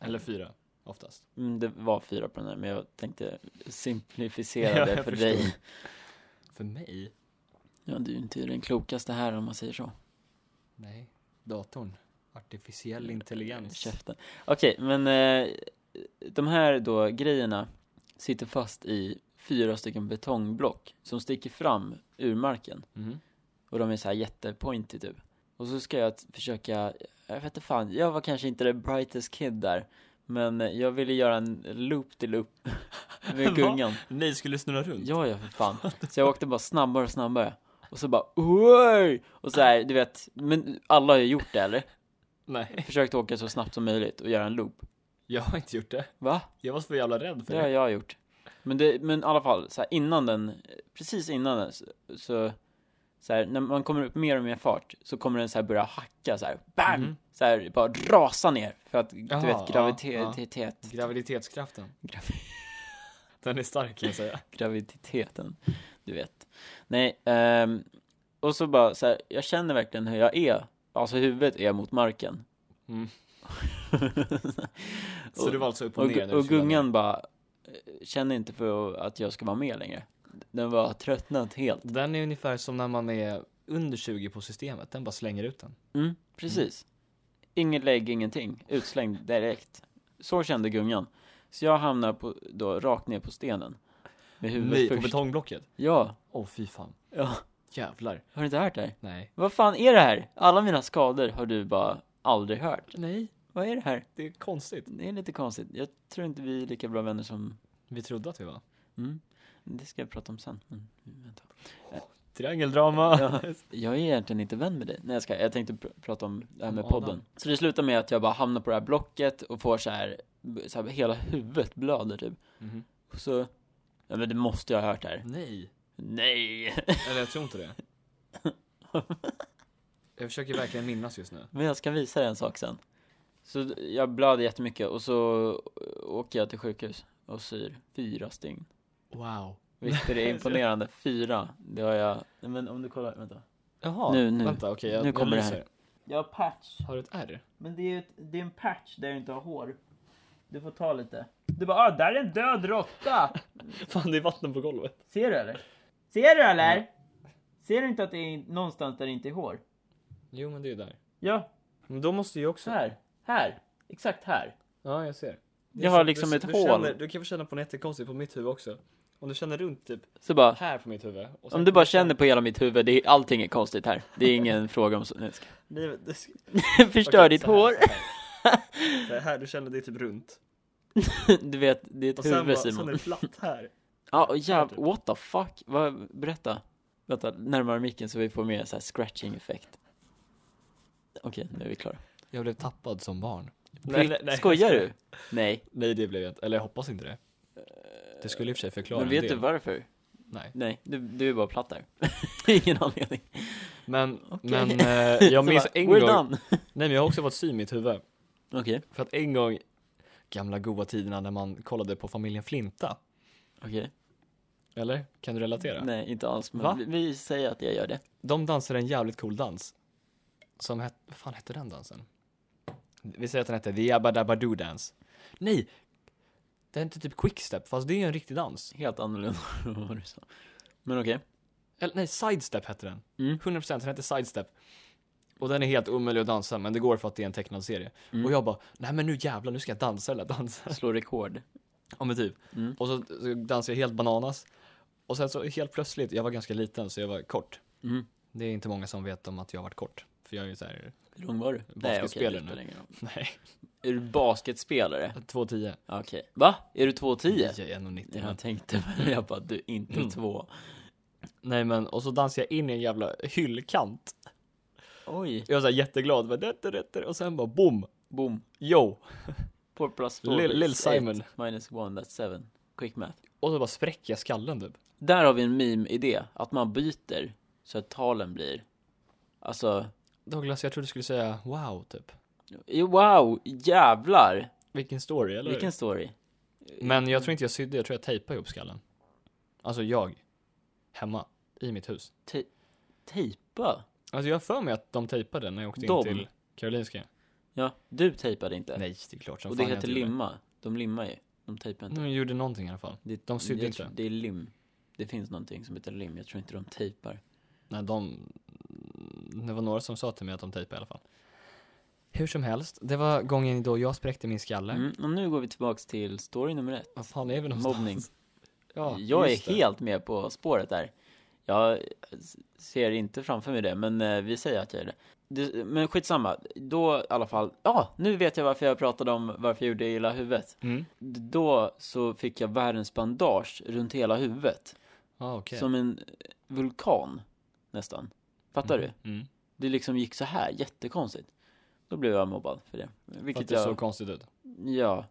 B: Eller fyra, oftast.
A: Mm, det var fyra på den här, men jag tänkte simplificera
B: Ja,
A: det
B: jag
A: för
B: förstår.
A: dig.
B: För mig?
A: Ja, du är ju inte den klokaste här om man säger så.
B: Nej. Datorn. Artificiell intelligens.
A: Käften. Okej, men eh, de här då grejerna sitter fast i fyra stycken betongblock som sticker fram ur marken.
B: Mhm.
A: Och de är så här jättepointy typ. Och så ska jag t- försöka, jag vet inte fan, jag var kanske inte the brightest kid där. Men jag ville göra en loop till loop
B: Va?
A: med gungan.
B: Ni skulle snurra runt?
A: Ja, ja för fan. Så jag åkte bara snabbare och snabbare. Och så bara Oj! Och så här, du vet, men alla har ju gjort det eller?
B: Nej,
A: Försökt åka så snabbt som möjligt och göra en loop.
B: jag har inte gjort det.
A: Va?
B: Jag var så jävla rädd för
A: Det har
B: det.
A: jag gjort. Men, det, men i alla fall, så här, innan den, precis innan den, så, så, så här, när man kommer upp mer och mer fart så kommer den så här börja hacka så här, BAM!
B: Mhm.
A: Så här, bara rasa ner. För att,
B: Jaha,
A: du vet,
B: ja,
A: gravitet,
B: Graviditetskraften.
A: gravi-
B: Den är stark kan jag säga.
A: graviditeten, du vet. Nej, ehm, och så bara så här, jag känner verkligen hur jag är, alltså huvudet är mot marken.
B: Mm. Så
A: Och-
B: du var alltså upp och,
A: Och,
B: ner? när du
A: och
B: skulle
A: gungan bara eh, känner inte för att jag ska vara med längre. Den var tröttnat helt.
B: vara med? Den är ungefär som när man är under 20 på systemet, den bara slänger ut den.
A: Mm, precis. Inget lägg, ingenting. Utslängd direkt. Så kände gungan. Så jag hamnade på, då rakt ner på stenen. Med huvudet
B: Ni, på
A: först.
B: betongblocket?
A: Ja.
B: Åh fy fan.
A: ja.
B: Jävlar.
A: Har du inte hört det här?
B: Nej.
A: Vad fan är det här? Alla mina skador har du bara aldrig hört.
B: Nej,
A: Vad är det här?
B: det är konstigt.
A: Det är lite konstigt. Jag tror inte vi är lika bra vänner som...
B: Vi trodde att vi var.
A: Mm. Det ska jag prata om sen. Men, vänta.
B: Triangeldrama.
A: Ja. Jag är egentligen inte vän med dig. Nej jag ska, jag tänkte pr- prata om det här med
B: Om Adam.
A: podden. Så det slutar med att jag bara hamnar på det här blocket och får så här, b- så här hela huvudet blöder typ.
B: Mhm.
A: Och så, ja men det måste jag ha hört här.
B: Nej.
A: Nej!
B: Eller jag tror inte det. Jag försöker verkligen minnas just nu.
A: Men jag ska visa dig en sak sen. Så d- jag blöder jättemycket och så eh, åker jag till sjukhus och syr fyra stygn.
B: Wow.
A: Visst är det imponerande? Fyra, det har jag. Nej, Men om du kollar, vänta.
B: Jaha,
A: Nu, nu.
B: vänta okej jag,
A: Nu kommer det
B: jag
A: här.
B: lyser.
A: Jag har patch.
B: Har du ett R?
A: Men det är, ju ett, det är en patch där du inte har hår. Du får ta lite. Du bara ah, där är en död råtta!
B: Fan det är vatten på golvet.
A: Ser du eller? Ser du eller? Ser du inte att det är någonstans där det inte är hår?
B: Jo men det är ju där.
A: Ja,
B: Men då måste jag också...
A: så här. Här. Exakt här.
B: Ja jag ser.
A: Jag har liksom
B: du,
A: ett
B: du
A: hål.
B: Känner, du kan få känna på något jättekonstigt på mitt huvud också. Om du känner runt typ
A: Så bara,
B: här på mitt huvud. Och sen-
A: om du bara känner på hela mitt huvud, det är, allting är konstigt här. Det är ingen fråga om så. Nej, jag ska-
B: Nej, det ska-
A: Förstör
B: Okej,
A: ditt
B: så här,
A: hår.
B: Så här, så här, här du känner det är typ runt.
A: Du vet, det är ett
B: Och sen,
A: huvud
B: bara, sen
A: Simon.
B: är det platt här.
A: Ja, och jäv, what the fuck? Vad, berätta. Vänta, närmare micken så vi får mer så här scratching effekt. Okej, nu är vi klara.
B: Jag blev tappad som barn.
A: Nej, Skojar du? Nej.
B: Nej det blev jag inte, eller jag hoppas inte det. Det skulle i och för sig förklara
A: Men
B: en
A: vet
B: del.
A: du varför?
B: Nej.
A: Nej, du, du är bara platt där. Ingen anledning.
B: Men,
A: Okej.
B: men eh, jag
A: Så
B: minns
A: bara,
B: en
A: We're
B: gång,
A: done.
B: nej men jag har också fått sy i mitt huvud.
A: Okej,
B: För att en gång, gamla goa tiderna när man kollade på familjen Flinta.
A: okej.
B: Eller? Kan du relatera?
A: Nej, inte alls.
B: Va?
A: Men vi, vi säger att jag gör det.
B: De dansade en jävligt cool dans. Som hette, vad fan hette den dansen? Vi säger att den hette The Abba Dabba Doo Dance. Nej! Den hette typ Quickstep, fast det är ju en riktig dans.
A: Helt annorlunda än vad du sa. Men okej.
B: Eller nej, Sidestep hette den.
A: Mm.
B: 100% den hette Sidestep. Och den är helt omöjlig att dansa, men det går för att det är en tecknad serie.
A: Mm.
B: Och jag bara, nej men nu jävlar, nu ska jag dansa den där dansen.
A: Slå rekord.
B: Ja men typ.
A: Mm.
B: Och så, så dansade jag helt bananas. Och sen så helt plötsligt, jag var ganska liten så jag var kort.
A: Mm.
B: Det är inte många som vet om att jag har varit kort. För jag är ju såhär,
A: Hur lång var du?
B: Basketspelare
A: det
B: nu.
A: spelar ingen roll.
B: nej,
A: Är du basketspelare?
B: 2,10.
A: Okej. Va? Är du 2,10?
B: Jag är 1,90. men-
A: Jag tänkte väl, jag bara, du är inte
B: Mm.
A: två.
B: Nej men, och så dansade jag in i en jävla hyllkant.
A: Oj.
B: Jag var såhär jätteglad, bara, det, det, det, och sen bara boom,
A: Boom.
B: yo!
A: Four plus four
B: Lil-
A: is
B: Lil
A: eight.
B: Simon.
A: Minus one, that's seven. Quick math.
B: Och så bara spräcker jag skallen typ.
A: Där har vi en meme-idé, att man byter så att talen blir, alltså,
B: Douglas, jag trodde du skulle säga wow typ.
A: wow, jävlar!
B: Vilken story, eller
A: Vilken story.
B: Men jag tror inte jag sydde, jag tror jag tejpade ihop skallen. Alltså jag, hemma, i mitt hus.
A: Te- tejpa?
B: Alltså jag har för mig att de tejpade när jag åkte
A: De?
B: in till Karolinska.
A: Ja, du tejpade inte.
B: Nej, det är klart som
A: Och det
B: fan jag
A: heter
B: inte gjorde.
A: limma. De limmar ju. De tejpar inte.
B: De gjorde någonting i alla fall.
A: Det,
B: de sydde
A: jag
B: inte.
A: tror- Det är lim. Det finns någonting som heter lim. Jag tror inte de tejpar.
B: Nej, de... Det var några som sa till mig att de tejpade i alla fall. Hur som helst, det var gången då jag spräckte min skalle.
A: Mm, och nu går vi tillbaks till story nummer ett,
B: Vad fan är vi någonstans?
A: mobbning.
B: Ja,
A: jag
B: just
A: är
B: det.
A: helt med på spåret där. Jag ser inte framför mig det, men eh, vi säger att jag är det. det men skitsamma, då i alla fall, ja, nu vet jag varför jag pratade om varför jag gjorde illa huvudet.
B: Mm.
A: D- Då så fick jag världens bandage runt hela huvudet,
B: Ah, okej.
A: som en eh, vulkan nästan. Fattar du?
B: Mm.
A: Det liksom gick så här, jättekonstigt. Då blev jag mobbad för det. Vilket
B: Vilket det
A: jag...
B: såg konstigt ut.
A: Ja.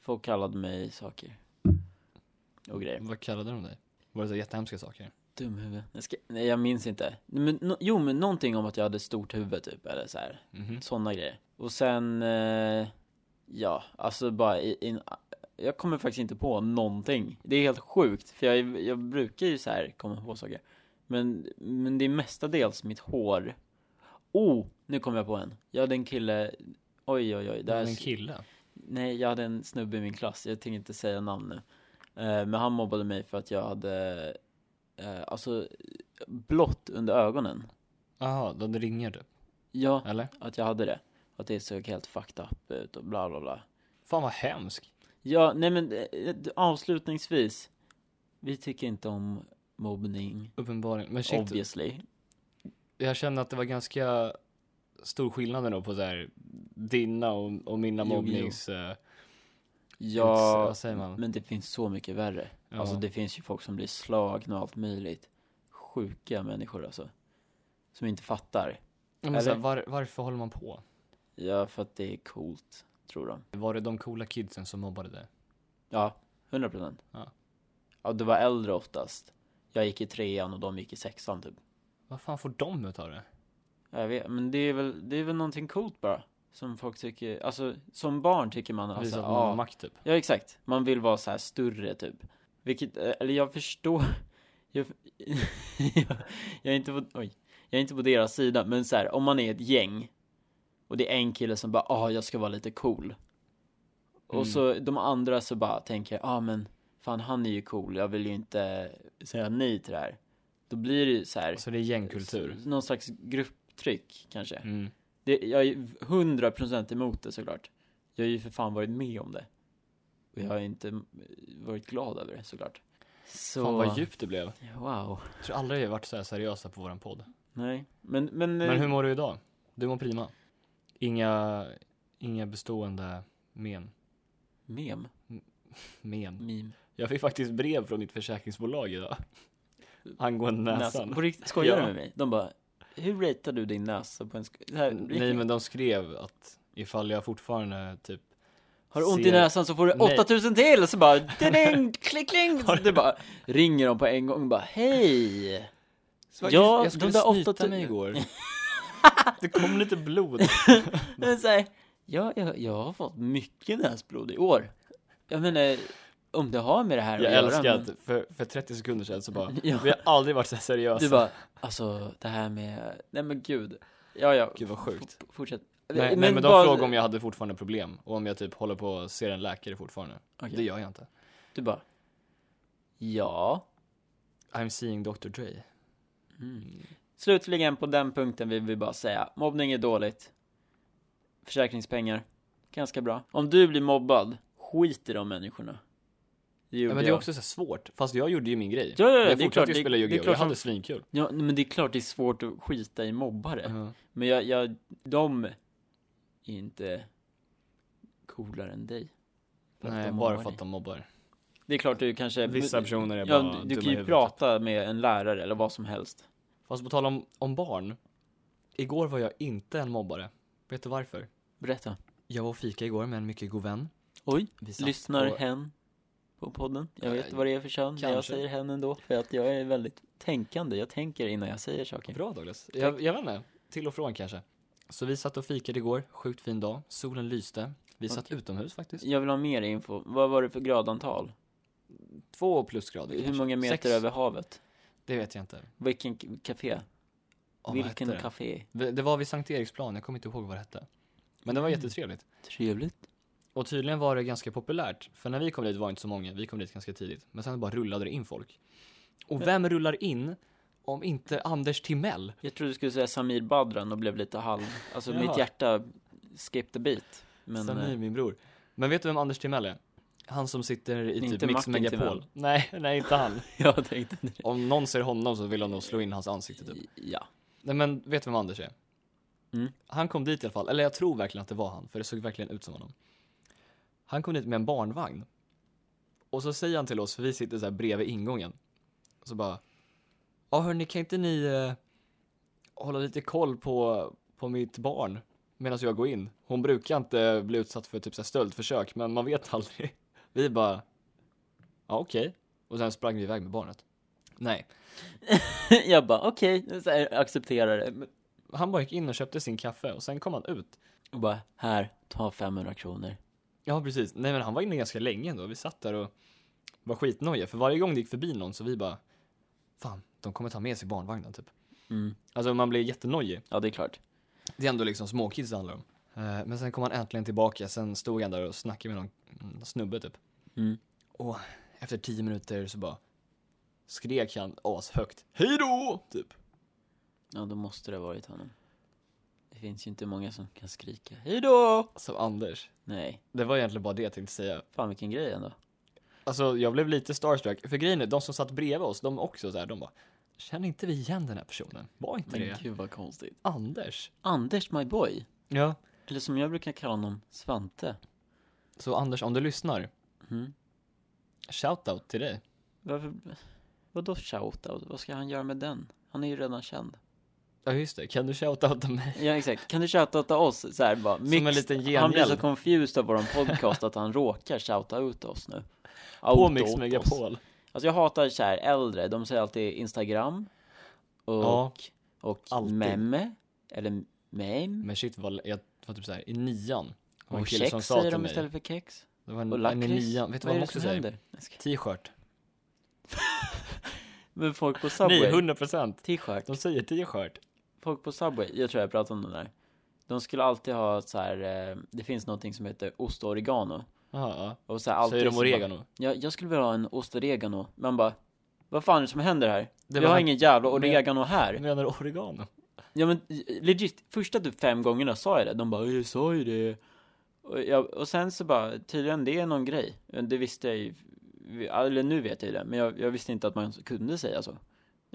A: Folk kallade mig saker. Och grejer.
B: Vad kallade de dig? Var det så jättehemska saker?
A: Dumhuvud. Jag ska... Nej, jag minns inte. Men, no... Jo, men någonting om att jag hade stort huvud typ, eller så här.
B: Mhm.
A: Sådana grejer. Och sen, eh... ja, alltså bara i, i... Jag kommer faktiskt inte på någonting. Det är helt sjukt, för jag, är- jag brukar ju så här komma på saker. Men, men det är mestadels mitt hår. Oh, nu kom jag på en. Jag hade en kille, oj oj oj. Det här
B: Men en kille?
A: Nej, jag hade en snubbe i min klass, jag tänker inte säga namn nu. Eh, Men han mobbade mig för att jag hade, eh, alltså, blått under ögonen.
B: Jaha, de ringer du?
A: Ja,
B: Eller?
A: att jag hade det. Att det såg helt fucked up ut och bla bla bla.
B: Fan vad hemskt.
A: Ja, nej men eh, avslutningsvis. Vi tycker inte om mobbning,
B: Uppenbarligen. Men shit,
A: obviously.
B: jag känner att det var ganska stor skillnad ändå på så här dina och, och mina
A: Jo, jo.
B: mobbnings... eh,
A: Ja,
B: vad säger man?
A: men det finns så mycket värre.
B: alltså. Ja.
A: Alltså det finns ju folk som blir slagna och allt möjligt. Sjuka människor alltså. Som inte fattar.
B: Ja, men så här,
A: eller?
B: var, varför håller man på?
A: Ja, för att det är coolt, tror de.
B: Var det de coola kidsen som mobbade dig?
A: Ja, 100 procent.
B: Ja.
A: Ja, det var äldre oftast. Jag gick i trean och de gick i sexan typ.
B: Vad fan får de utav det?
A: Jag vet, men det är väl, det är väl någonting coolt bara. Som folk tycker, alltså som barn tycker man alltså,
B: Visa att man har
A: ja.
B: makt typ.
A: Ja, exakt. Man vill vara så här större typ. Vilket, eh, eller jag förstår. Jag, jag, jag, är inte på, oj, jag är inte på deras sida, men så här, om man är ett gäng och det är en kille som bara, ah, jag ska vara lite cool.
B: Mm.
A: Och så de andra så bara tänker, ah, men fan han är ju cool, jag vill ju inte säga nej till det här. Då blir det ju så här,
B: Så Alltså, det är gängkultur.
A: s- någon slags grupptryck kanske.
B: Mm.
A: Det, jag är 100% emot det såklart. Jag har ju för fan varit med om det. Och jag har inte eh, varit glad över det såklart. Så...
B: Fan vad djupt det blev.
A: Wow.
B: Jag tror aldrig vi har varit så här seriösa på våran podd.
A: Nej, men, men... eh,
B: Men hur mår du idag? Du mår prima. Inga, inga bestående men.
A: Mem?
B: men.
A: Meme?
B: Jag fick faktiskt brev från mitt försäkringsbolag idag. Angående näsan.
A: På riktigt, skojar du
B: Ja.
A: med mig? De bara, hur ratear du din näsa på en sk- det här,
B: Nej men de skrev att ifall jag fortfarande typ
A: Har du ont i
B: ser-
A: näsan så får du
B: Nej.
A: 8000 till! Så bara, ding, klick, kling! Så det bara, ringer de på en gång och bara, hej! Ja,
B: jag skulle
A: de där åtta typ-
B: snyta
A: tu-
B: mig igår. det kom lite blod.
A: Men så här, ja, jag, jag har fått mycket näsblod i år. Jag menar, om det har med det här
B: Jag
A: att
B: älskar
A: göra.
B: att för, för 30 sekunder sedan så bara,
A: Ja.
B: vi har aldrig varit så här
A: men Du
B: seriösa.
A: bara, alltså det här med, nej men gud. Ja, ja.
B: Gud vad sjukt.
A: F- fortsätt.
B: Nej, men, nej, men de frågade om jag hade fortfarande problem och om jag typ håller på att se en läkare fortfarande.
A: Okej.
B: Det gör jag inte.
A: Du bara, ja.
B: I'm seeing Dr.
A: Mm.
B: Dre.
A: Slutligen på den punkten vill vi bara säga, mobbning är dåligt. Försäkringspengar, ganska bra. Om du blir mobbad, skit i de människorna. Det
B: Ja,
A: gjorde
B: men det är
A: jag.
B: också så här svårt, fast jag gjorde ju min grej.
A: Ja, ja, ja, det är
B: jag
A: klart,
B: fortsatte
A: det-
B: ju spela
A: det är
B: Yu-Gi-Oh! Jag
A: klart som-
B: hade svinkul.
A: Ja, nej, men det är klart det är svårt att skita i mobbare.
B: Ja.
A: Men jag, jag, de är inte coolare än dig. För att
B: Nej,
A: de
B: bara
A: mobbar
B: för
A: dig.
B: att de mobbar.
A: Det är klart du kanske...
B: Vissa personer är bara
A: ja, du,
B: dumma
A: du
B: i
A: kan ju
B: huvudet.
A: prata med en lärare eller vad som helst.
B: Fast på tal om, om barn. Igår var jag inte en mobbare. Vet du varför?
A: Berätta.
B: Jag var och fika igår med en mycket god vän.
A: Oj,
B: Vi satt
A: lyssnar
B: och-
A: hen på podden? Jag
B: Eh,
A: vet vad det är för kön, men jag
B: kanske.
A: säger hen ändå. För att jag är väldigt tänkande, jag tänker innan jag säger saker.
B: Bra Douglas. Jag, jag vet inte. Till och från kanske. Så vi satt och fikade igår. Sjukt fin dag. Solen lyste. Vi satt utomhus faktiskt.
A: Jag vill ha mer info. Vad var det för gradantal?
B: Två plusgrader
A: Hur
B: kanske.
A: många meter
B: Sex.
A: över havet?
B: Det vet jag inte.
A: Vilken k- café?
B: Åh, vad hette
A: Vilken
B: det?
A: café?
B: Det det var vid Sankt Eriksplan, jag kommer inte ihåg vad det hette. Men det var jättetrevligt.
A: Trevligt.
B: Och tydligen var det ganska populärt, för när vi kom dit var det inte så många, vi kom dit ganska tidigt. Men sen bara rullade det in folk. Och vem rullar in om inte Anders Timell?
A: Jag trodde du skulle säga Samir Badran och blev lite halv... Alltså
B: Jaha.
A: mitt hjärta skip the beat. Men
B: Samir,
A: eh,
B: min bror. Men vet du vem Anders Timell är? Han som sitter i typ
A: Inte
B: Mix
A: Martin
B: Megapol.
A: Timell.
B: Nej, nej inte han.
A: jag tänkte inte det.
B: Om någon ser honom så vill de nog slå in hans ansikte typ.
A: Ja.
B: Nej men vet du vem Anders är?
A: Mm.
B: Han kom dit i alla fall, eller jag tror verkligen att det var han, för det såg verkligen ut som honom. Han kom dit med en barnvagn. Och så säger han till oss, för vi sitter så här bredvid ingången. Och så bara, ja hörni kan inte ni eh, hålla lite koll på, på mitt barn medan jag går in? Hon brukar inte bli utsatt för typ så här stöldförsök, men man vet aldrig. Vi bara, ja okej. Och sen sprang vi iväg med barnet. Nej,
A: jag bara okej, så här, accepterar det. Men-
B: han bara gick in och köpte sin kaffe och sen kom han ut.
A: Och bara, här, ta 500 kronor.
B: Ja, precis. Nej, men han var inne ganska länge ändå. Vi satt där och var skitnojiga. För varje gång det gick förbi någon så vi bara, fan, de kommer ta med sig barnvagnen typ.
A: Mm.
B: Alltså man blir jättenojig.
A: Ja, det är klart.
B: Det är ändå liksom småkids det handlar om. Eh, Men sen kom han äntligen tillbaka. Sen stod han där och snackade med någon mm, snubbe typ.
A: Mm.
B: Och efter tio minuter så bara skrek han ashögt, hej då! Typ.
A: Ja, då måste det ha varit honom. Det finns ju inte många som kan skrika hejdå!
B: Som Alltså, Anders.
A: Nej,
B: Det var egentligen bara det jag tänkte säga.
A: fan vilken grej ändå.
B: Alltså jag blev lite starstruck, för grejen är, de som satt bredvid oss, de också så här, de bara Känner inte vi igen den här personen? Var inte
A: Men
B: det
A: gud vad konstigt.
B: Anders?
A: Anders my boy,
B: Ja
A: eller som jag brukar kalla honom, Svante.
B: Så Anders, om du lyssnar,
A: Mm.
B: shoutout till dig
A: Varför, vadå shoutout? Vad ska han göra med den? Han är ju redan känd.
B: Ja just det, kan du shoutouta mig?
A: Ja exakt, kan du shoutouta oss? Så här bara,
B: en
A: mixed.
B: liten
A: Han blir så
B: genhjälp.
A: confused av våran podcast att han råkar shoutouta oss nu.
B: På
A: Outa
B: Mix
A: åt oss.
B: Megapol
A: Alltså jag hatar så här äldre, de säger alltid Instagram och,
B: Ja,
A: och
B: alltid.
A: meme, eller meme.
B: Men shit, vad, jag var typ såhär i nian var en
A: Och
B: kille
A: kex
B: som sa
A: säger
B: till
A: de
B: mig Mm,
A: istället för kex.
B: Det var en,
A: Och
B: en i
A: lakrits.
B: nian, vet du vad
A: är
B: de
A: det
B: också
A: som
B: säger?
A: händer? Jag ska-
B: T-shirt
A: Men folk på
B: Nej,
A: Subway,
B: 100%
A: t-shirt,
B: De säger t-shirt
A: folk på Subway, jag tror jag pratade om den där. De skulle alltid ha så här, eh, det finns någonting som heter ost och oregano.
B: Ja,
A: Och så här,
B: ja.
A: alltid
B: Säger de
A: så bara-
B: oregano?
A: Ja, jag skulle vilja ha en ost och oregano. Man bara, vad fan är det som händer här?
B: Det
A: Vi
B: var
A: har
B: han-
A: ingen jävla
B: men-
A: oregano här.
B: Menar du oregano?
A: Ja men legit, första typ fem gångerna sa jag det, de bara 'Jag sa ju det' och, jag, och sen så bara, tydligen det är någon grej Det visste jag ju, eller nu vet jag ju det, men jag, jag visste inte att man kunde säga så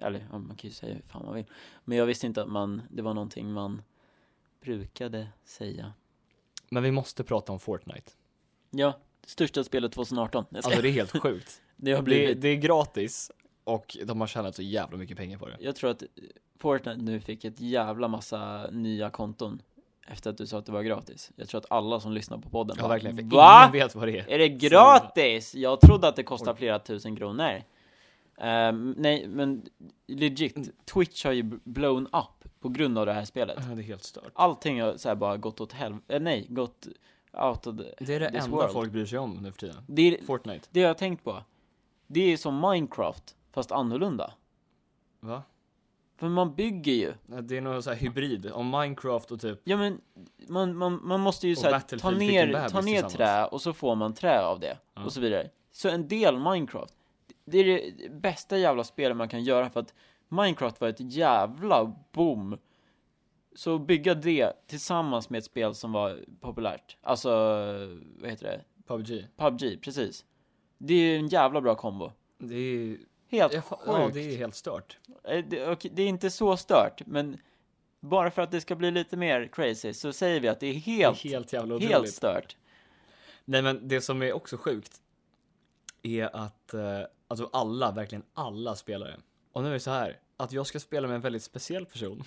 A: Eller, ja, man kan ju säga hur fan man vill Men jag visste inte att man, det var någonting man brukade säga
B: Men vi måste prata om Fortnite
A: Ja, största spelet 2018 Jag ska-
B: Alltså det är helt sjukt.
A: Det har
B: Det,
A: blivit,
B: det är gratis och de har tjänat så jävla mycket pengar på det.
A: jag tror att Fortnite nu fick ett jävla massa nya konton efter att du sa att det var gratis Jag tror att alla som lyssnar på podden
B: Ja
A: bara,
B: verkligen, för
A: "Va?"
B: ingen vet vad det är.
A: Är det gratis? Jag trodde att det kostar flera tusen kronor. Ehm, nej, men
B: Mm.
A: legit. Twitch har ju blown up på grund av det här spelet.
B: det är helt stört.
A: Allting har så här bara gått åt helvete, eh, nej, gått out of the...
B: Det är det
A: This
B: enda
A: world.
B: folk bryr sig om nu för tiden.
A: Det, är,
B: Fortnite.
A: det har jag tänkt på. Det är som Minecraft, fast annorlunda.
B: Va?
A: För man bygger ju.
B: Nej, Det är någon så här hybrid om Minecraft och typ,
A: Ja men, man, man, man måste ju
B: Och
A: såhär, ta
B: Battlefield fick en
A: ner,
B: bebis
A: ta ner
B: tillsammans.
A: trä och så får man trä av det,
B: Ja.
A: och så vidare. Så en del Minecraft, det är det bästa jävla spelet man kan göra för att Minecraft var ett jävla boom. Så att bygga det tillsammans med ett spel som var populärt, alltså, vad heter det?
B: PubG.
A: PubG, precis. Det är ju en jävla bra kombo.
B: Det är,
A: Helt
B: ja,
A: sjukt.
B: ja, det är helt stört.
A: Eh, Det, okej, det är inte så stört, men bara för att det ska bli lite mer crazy så säger vi att det är helt,
B: det är helt jävla otroligt.
A: helt stört.
B: Nej men det som är också sjukt är att eh, alltså alla, verkligen alla spelare. Och nu är det så här att jag ska spela med en väldigt speciell person.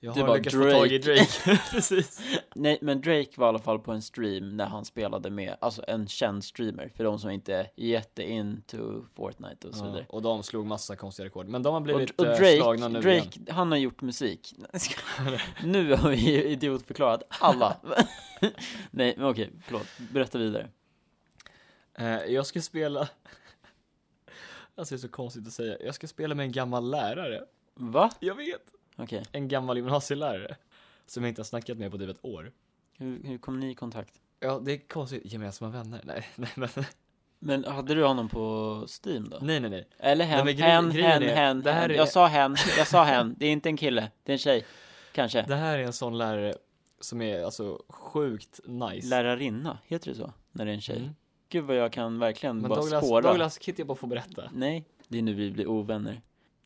B: Jag
A: Du
B: har
A: bara,
B: lyckats få tag i
A: Drake.
B: Drake. Precis.
A: Nej, men Drake var i alla fall på en stream när han spelade med, alltså en känd streamer, för de som inte är jätteinto Fortnite och så
B: Ja,
A: vidare.
B: och de slog massa konstiga rekord. Men de har blivit
A: och, och
B: eh,
A: Drake,
B: slagna nu igen.
A: Drake han har gjort musik. Nej, ska- nu har vi ju idiotförklarat alla. Nej, men okej, förlåt. Berätta vidare.
B: Eh, jag ska spela... alltså det är så konstigt att säga. Jag ska spela med en gammal lärare.
A: Va?
B: Jag vet!
A: Okej,
B: En gammal gymnasielärare. Som jag inte har snackat med på typ ett år.
A: hur, hur kom ni i kontakt?
B: Ja, det är konstigt. Gemensamma vänner? Nej, nej, men,
A: Men hade du honom på Steam då?
B: nej, nej, nej.
A: Eller hen,
B: men grej-
A: hen,
B: grejen
A: hen,
B: är-
A: hen,
B: det här
A: hen.
B: är-
A: Jag sa hen, jag sa hen. Det är inte en kille, det är en tjej. Kanske.
B: Det här är en sån lärare Som är alltså sjukt nice.
A: Lärarinna, heter det så? När det är en tjej?
B: Mm.
A: Gud vad jag kan verkligen
B: Men
A: bara
B: Douglas,
A: spåra.
B: Douglas Kitty bara får berätta.
A: Nej, det är nu vi blir ovänner.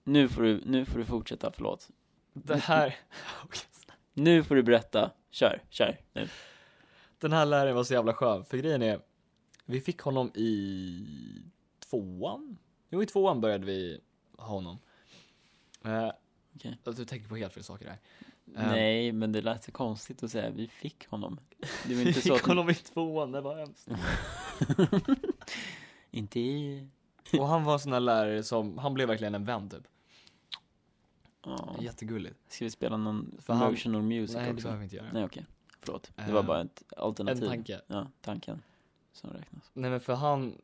A: Nu får du, nu får du fortsätta, förlåt.
B: Det här,
A: Nu får du berätta. Kör, kör.
B: Ehm.
A: Nu.
B: den här läraren var så jävla skön, för grejen är, vi fick honom i tvåan? Jo, i tvåan började vi ha honom. Eh,
A: Okej.
B: att Du tänker på helt fel saker här.
A: Nej, men det lät så konstigt att säga vi fick honom. Det var
B: Vi
A: inte så
B: fick
A: att
B: honom i tvåan, det var hemskt.
A: Inte i...
B: Och han var en sån där lärare som, han blev verkligen en vän typ.
A: Ja.
B: Jättegulligt.
A: Ska vi spela någon
B: För han-
A: emotional music
B: Nej, det
A: också?
B: behöver vi inte göra.
A: Nej, okej. Förlåt. Det
B: Eh,
A: var bara ett
B: En
A: alternativ.
B: tanke.
A: Ja, tanken. Som räknas.
B: Nej men för han,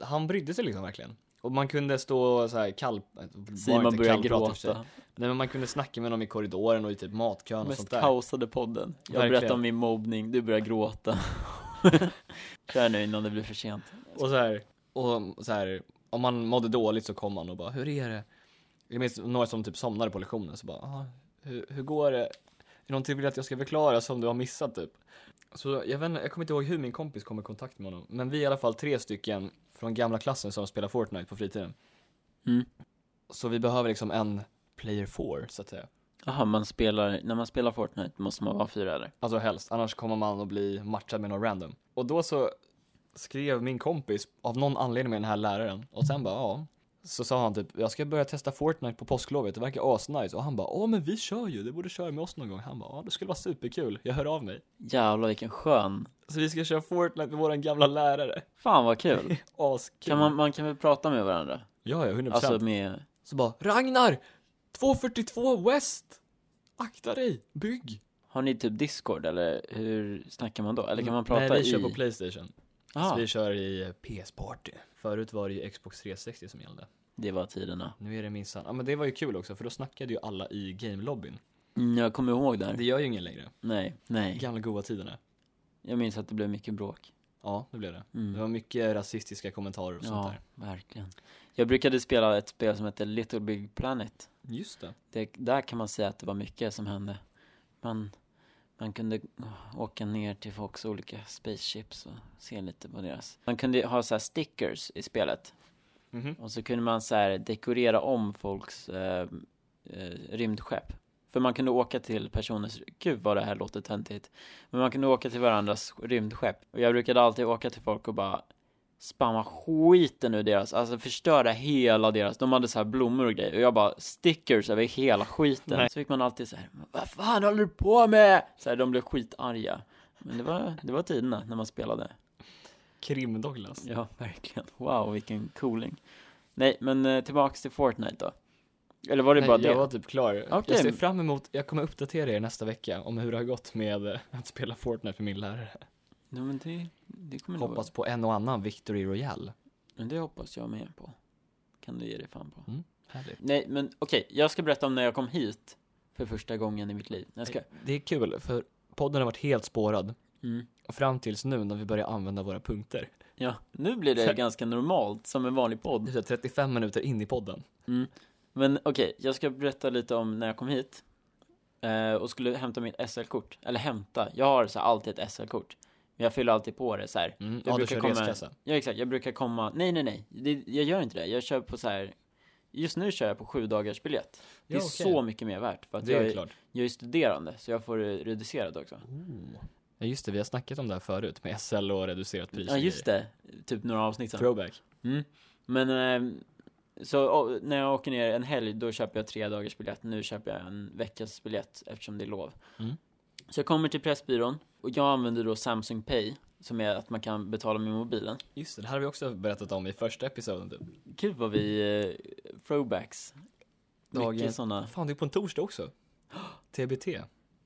B: han brydde sig liksom verkligen. Och man kunde stå så här kall...
A: Simon börjar gråta.
B: Nej men man kunde snacka med honom i korridoren och i typ matkön och
A: Mest
B: sånt där.
A: kaosade podden. Jag
B: Verkligen.
A: berättar om min mobbning, du börjar gråta. Kör nu innan det blir för sent.
B: Och så här, och så här, om man mådde dåligt så kom han och bara, hur är det? Jag minns några som typ somnade på lektionen, så bara, "Ah, hur, hur går det? Är det någonting du vill att jag ska förklara som du har missat typ? Så jag vet inte, jag kommer inte ihåg hur min kompis kom i kontakt med honom, men vi är i alla fall tre stycken från gamla klassen som spelar Fortnite på fritiden.
A: Mm.
B: Så vi behöver liksom en player four, så att säga.
A: Jaha, man spelar, när man spelar Fortnite måste man vara fyra eller?
B: Alltså helst, annars kommer man att bli matchad med någon random. Och då så skrev min kompis av någon anledning med den här läraren och sen bara ja. Så sa han typ, jag ska börja testa Fortnite på påsklovet, det verkar asnice. Och han bara, ja men vi kör ju, du borde köra med oss någon gång. Han bara, ja det skulle vara superkul, jag hör av mig.
A: Jävlar vilken skön.
B: Så vi ska köra Fortnite med våran gamla lärare.
A: Fan vad kul.
B: Askul.
A: Kan man, man kan väl prata med varandra?
B: Ja, ja, 100%.
A: Alltså med,
B: Så bara, Ragnar! 242 West! Akta dig, bygg!
A: har ni typ discord eller hur snackar man då? Eller kan man prata
B: Nej, vi
A: i?
B: kör på Playstation.
A: ah,
B: Så vi kör i PS-party. Förut var det ju Xbox 360 som gällde.
A: det var tiderna.
B: Nu är det minsann, ja men det var ju kul också för då snackade ju alla i game-lobbyn.
A: Mm, jag kommer ihåg där.
B: Det gör ju ingen längre.
A: Nej, nej.
B: Gamla goa tiderna.
A: Jag minns att det blev mycket bråk.
B: Ja, det blev det.
A: Mm.
B: Det var mycket rasistiska kommentarer och sånt
A: Ja,
B: där.
A: verkligen. Jag brukade spela ett spel som hette Little Big Planet.
B: Just det.
A: det, där kan man säga att det var mycket som hände. Man, man kunde åka ner till folks olika spaceships och se lite på deras. Man kunde ha så här stickers i spelet.
B: Mhm.
A: Och så kunde man så här dekorera om folks eh, eh, rymdskepp. För man kunde åka till personers, gud vad det här låter töntigt. Men man kunde åka till varandras rymdskepp. Och jag brukade alltid åka till folk och bara spamma skiten ur deras, alltså förstöra hela deras, de hade så här blommor och grejer och jag bara stickers över hela skiten.
B: Nej.
A: Så fick man alltid så här, vad fan håller du på med? Så här, de blev skitarga. Men det var, det var tiderna när man spelade.
B: Krim-Douglas.
A: Ja, verkligen. Wow, vilken cooling. Nej, men eh, tillbaks till Fortnite då. Eller var det bara
B: Nej,
A: det?
B: jag var typ klar.
A: Okej.
B: Jag ser fram emot, jag kommer uppdatera er nästa vecka om hur det har gått med eh, att spela Fortnite för min lärare.
A: Nej, men det, det kommer nog-
B: Hoppas på en och annan Victory Royale.
A: Men det hoppas jag med på. Kan du ge dig fan på.
B: Härligt.
A: Nej, men okej, jag ska berätta om när jag kom hit för första gången i mitt liv. Jag ska...
B: Det är kul för podden har varit helt spårad
A: Mm.
B: fram tills nu när vi börjar använda våra punkter.
A: Ja, nu blir det ganska normalt som en vanlig
B: Det är
A: podd.
B: så här 35 minuter in i podden.
A: Men okej, jag ska berätta lite om när jag kom hit eh, och skulle hämta mitt SL-kort. Eller hämta, jag har så här alltid ett SL-kort. Men jag fyller alltid på det så här.
B: Mm,
A: Jag
B: ja, du
A: brukar
B: kör
A: komma-
B: reskassa.
A: Ja exakt, jag brukar komma, nej nej nej, det, jag gör inte det. Jag kör på så här. just nu kör jag på sju dagars biljett. Det är
B: Ja, okej.
A: så mycket mer värt för att
B: Det är
A: jag,
B: ju
A: är,
B: klart.
A: jag är studerande så jag får det reducerat också.
B: Oh. Ja, just det, vi har snackat om det här förut med SL och reducerat pris.
A: Ja just det, typ några avsnitt sen. Mm.
B: Throwback.
A: Men eh, så å- när jag åker ner en helg då köper jag tre dagars biljett. Nu köper jag en veckas biljett eftersom det är lov.
B: Mm.
A: Så jag kommer till Pressbyrån och jag använder då Samsung Pay som är att man kan betala med mobilen.
B: Just det, det här har vi också berättat om i första episoden typ.
A: Kul vad vi eh, throwbacks. Mycket
B: Dagens-
A: sådana.
B: Fan, det är på en torsdag också. TBT.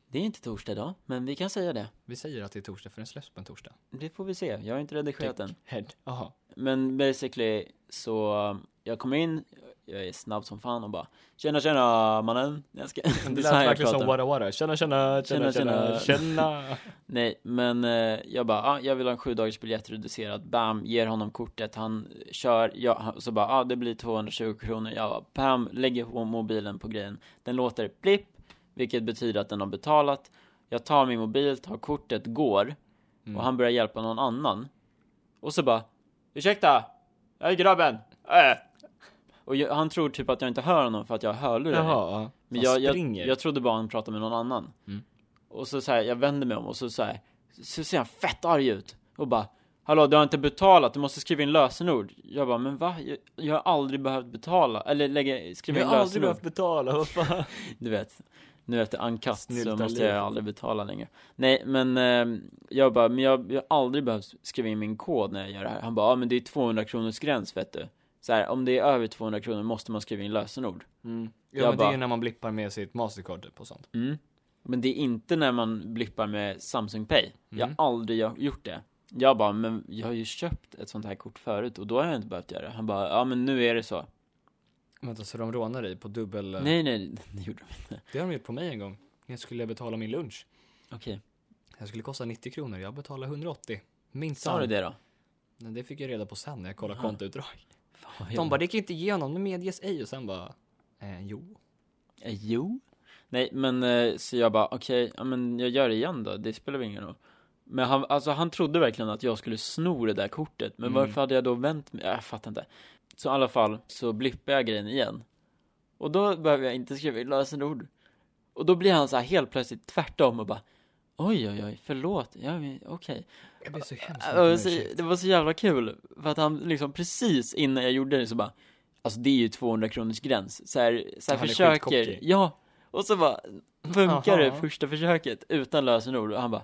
A: Det är inte torsdag idag, men vi kan säga det.
B: Vi säger att det är torsdag för den släpps på en torsdag.
A: Det får vi se. Jag har inte
B: Typ.
A: redigerat den.
B: Head. Jaha.
A: Men basically så, um, jag kommer in, jag är snabb som fan och bara Tjena tjena mannen. Jag ska...
B: Men det
A: är så här
B: lät
A: jag
B: verkligen som
A: pratar.
B: Wara Wara. Tjena, tjena, tjena,
A: Tjena, Äh,
B: tjena, tjena.
A: Nej, men eh, jag bara, ah, jag vill ha en sju dagars biljett reducerad, bam, ger honom kortet, han kör, jag, han- så bara, ah, det blir 220 kronor, jag bara, bam, lägger på mobilen på grejen, den låter blipp, vilket betyder att den har betalat, jag tar min mobil, tar kortet, går
B: Mm.
A: och han börjar hjälpa någon annan. Och så bara, ursäkta, jag är grabben, äh. Och jag, han tror typ att jag inte hör honom för att jag har hörlurar i.
B: Jaha, ja.
A: Men
B: Han
A: jag, jag,
B: springer.
A: jag trodde bara han pratade med någon annan.
B: Mm.
A: Och så, så här, jag vänder mig om och så, så, här, så ser han fett arg ut. Och bara, hallå du har inte betalat, du måste skriva in lösenord. Jag bara, men va? Jag, jag har aldrig behövt betala, eller lägga, skriva
B: jag
A: in
B: har
A: lösenord.
B: aldrig behövt betala, vad fan.
A: Du vet, nu efter ankast så
B: Snyltar
A: måste
B: livet.
A: jag aldrig betala längre. Nej, men eh, jag bara, men jag, jag har aldrig behövt skriva in min kod när jag gör det här. Han bara, ja men det är 200 kronors gräns vet du. Så här, om det är över 200 kronor måste man skriva in lösenord.
B: Ja,
A: Mm. Jag
B: men det
A: bara-
B: är ju när man blippar med sitt mastercard typ och sånt.
A: Mm. Men det är inte när man blippar med Samsung Pay. Jag har
B: Mm.
A: aldrig gö- gjort det. Jag bara, men jag har ju köpt ett sånt här kort förut och då har jag inte behövt göra det. Han bara, ja men nu är det så.
B: Vänta, så de rånar dig på dubbel... eh,
A: Nej, nej, det gjorde de inte.
B: Det har de gjort på mig en gång. Jag skulle betala min lunch.
A: Okej,
B: Jag skulle kosta 90 kronor, jag betalade 180. Minsann.
A: sa du det då?
B: Nej, det fick jag reda på sen när jag kollade
A: Aha.
B: kontoutdrag.
A: Fan, vad
B: De
A: jag-
B: bara, det gick inte igenom, det medges ej. Och sen bara, eh, jo.
A: Eh, Jo. Nej, men eh, så jag bara, okej, ja, men jag gör det igen då. Det spelar väl ingen roll. Men han, alltså, han trodde verkligen att jag skulle sno det där kortet. Men
B: Mm.
A: varför hade jag då vänt mig? Jag fattar inte. Så i alla fall så blippar jag grejen igen. Och då behöver jag inte skriva in lösenord. Och då blir han så här helt plötsligt tvärtom och bara Oj, oj, oj, förlåt, ja, men okej.
B: Jag blev så hemskt
A: Och så- Det var så jävla kul, för att han liksom precis innan jag gjorde det så bara Alltså det är ju 200 kronors gräns, så här, så här
B: Han är
A: försöker,
B: skitkockig.
A: ja, och så bara funkar det
B: Aha.
A: första försöket utan lösenord och han bara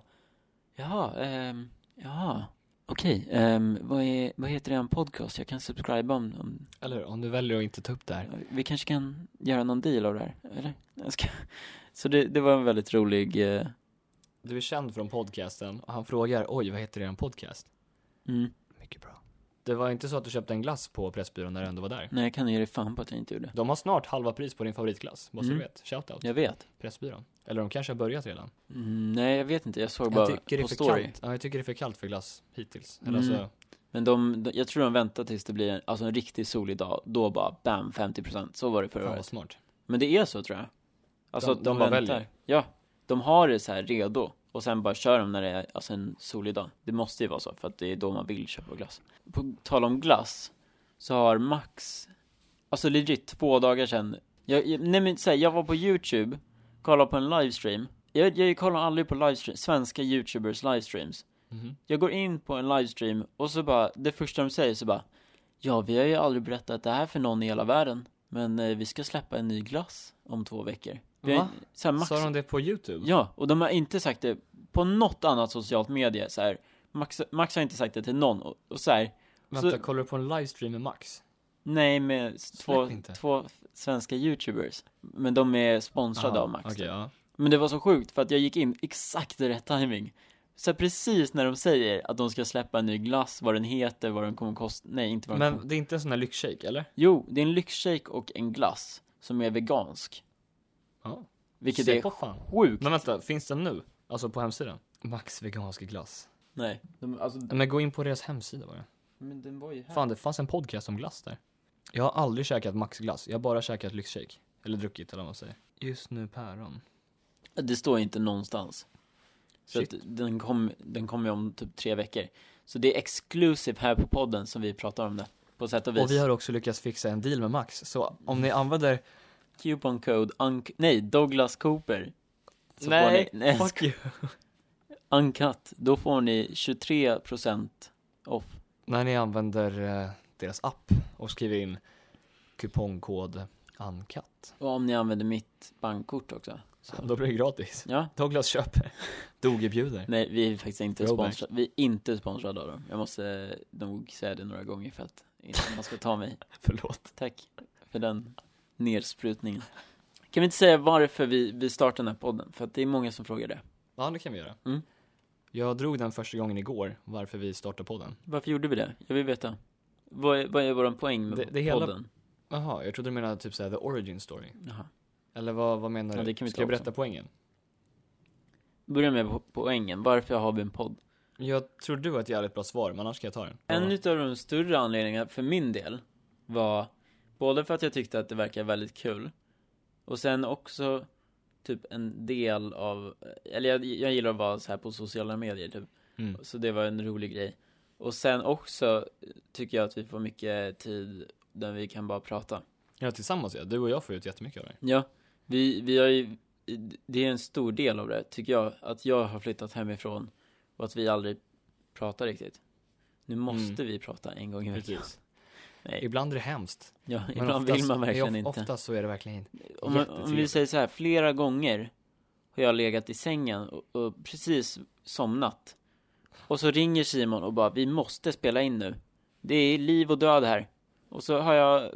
A: Jaha, ehm, jaha, okej, ehm, vad, är, vad heter en podcast jag kan subscriba om, om
B: Eller hur? om du väljer att inte ta upp det här.
A: vi kanske kan göra någon deal av det här, eller? Jag ska... Så det, det var en väldigt rolig, eh,
B: Du är känd från podcasten och han frågar, oj, vad heter er podcast?
A: mm,
B: Mycket bra. Det var inte så att du köpte en glass på Pressbyrån när du ändå var där?
A: nej jag kan ju ge dig fan på att jag inte gjorde.
B: De har snart halva pris på din favoritglass, vad så
A: Mm.
B: du vet. Shoutout.
A: Jag vet.
B: Pressbyrån. Eller de kanske har börjat redan.
A: Mm, nej, jag vet inte. Jag såg
B: Jag
A: bara
B: tycker, det är
A: på
B: för
A: story.
B: kallt. Ja, jag tycker det är för kallt för glass hittills. Eller
A: Mm.
B: alltså,
A: Men de, de, jag tror de väntar tills det blir en, alltså en riktigt solig dag. Då bara bam, 50%. Så var det förra
B: fan vad
A: året.
B: smart.
A: Men det är så tror jag. Alltså
B: De-
A: att de,
B: de bara
A: väntar.
B: väljer.
A: Ja, de har det så här redo. Och sen bara kör de när det är alltså en solig dag. Det måste ju vara så, för att det är då man vill köpa glass. På tal om glass, så har Max, alltså legit två dagar sedan, jag, jag, nej men säg, jag var på YouTube, kollade på en livestream. Jag, jag kollar aldrig på livestream, svenska YouTubers livestreams.
B: Mhm.
A: Jag går in på en livestream och så bara, det första de säger så bara Ja, vi har ju aldrig berättat det här för någon i hela världen Men eh, vi ska släppa en ny glass om två veckor vi har,
B: Va?
A: så här, max,
B: Sa de det på YouTube?
A: Ja, och de har inte sagt det på något annat socialt medie så här. Max, max har inte sagt det till någon och, och så här,
B: Vänta,
A: så-
B: kollar du på en livestream med Max?
A: Nej, med s- två,
B: inte.
A: två f- svenska youtubers Men de är sponsrade
B: Aha,
A: av Max
B: okej, ja.
A: Men det var så sjukt för att jag gick in exakt i rätt timing. Så här, precis när de säger att de ska släppa en ny glass, vad den heter, vad den kommer kosta, nej inte vad den kommer
B: Men det är inte en sån här lyxshake, eller?
A: Jo, det är en lyxshake och en glass som är vegansk.
B: Ja.
A: Vilket
B: Se
A: är
B: på fan.
A: sjukt.
B: Men vänta, finns den nu? Alltså på hemsidan? Max vegansk glass.
A: Nej, de, alltså,
B: Men gå in på deras hemsida bara.
A: men den var ju här.
B: Fan, det fanns en podcast om glass där. Jag har aldrig käkat Max glass, jag har bara käkat lyxshake. Eller druckit eller vad man säger. Just nu päron.
A: Det står inte någonstans. Så att
B: Shit.
A: den kommer den kom ju om typ tre veckor. Så det är exclusive här på podden som vi pratar om det. På sätt och vis.
B: Och vi har också lyckats fixa en deal med Max, så om ni använder...
A: coupon code, unk- nej, Douglas Cooper. Så får ni, nej,
B: fuck you.
A: uncut. Då får ni 23% off.
B: När ni använder eh, deras app och skriver in kupongkod ANKAT.
A: Och om ni använder mitt bankkort också. Så.
B: Då blir det gratis.
A: Ja.
B: Douglas köper. Doge bjuder.
A: Nej, vi är faktiskt inte
B: Throwback.
A: sponsrade. Vi är inte sponsrade av dem. Jag måste eh, nog säga det några gånger för att inte man ska ta mig.
B: Förlåt.
A: Tack för den nersprutningen. Kan vi inte säga varför vi, vi startade den här podden? För att det är många som frågar det.
B: Ja, det kan vi göra.
A: Mm.
B: Jag drog den första gången igår, varför vi startade podden.
A: Varför gjorde vi det? Jag vill veta. Vad är, vad är vår poäng med
B: Det- det hela-
A: podden?
B: Jaha, jag trodde du menade typ såhär the origin story.
A: Jaha.
B: Eller vad, vad menar
A: Ja,
B: du?
A: det kan vi
B: Ska
A: ta
B: jag
A: också.
B: berätta poängen?
A: Börja med po- poängen. Varför har vi en podd?
B: Jag tror du har ett jävligt bra svar, men annars kan jag ta den.
A: En utav de större anledningarna för min del var både för att jag tyckte att det verkar väldigt kul och sen också typ en del av, eller jag, jag gillar att vara så här på sociala medier typ.
B: Mm.
A: Så det var en rolig grej. Och sen också tycker jag att vi får mycket tid där vi kan bara prata.
B: Ja, tillsammans ja. Du och jag får ut jättemycket av det.
A: Ja, vi, vi har ju, det är en stor del av det tycker jag, att jag har flyttat hemifrån och att vi aldrig pratar riktigt. Nu måste vi prata en gång i veckan.
B: Precis.
A: Nej.
B: Ibland är det hemskt.
A: Ja,
B: men
A: ibland vill
B: oftast-
A: man verkligen
B: of-
A: inte.
B: Oftast så är det verkligen inte.
A: Om, man, om vi
B: Jättetrevligt.
A: säger så här, flera gånger har jag legat i sängen och, och precis somnat. Och så ringer Simon och bara, vi måste spela in nu. Det är liv och död här. Och så har jag eh,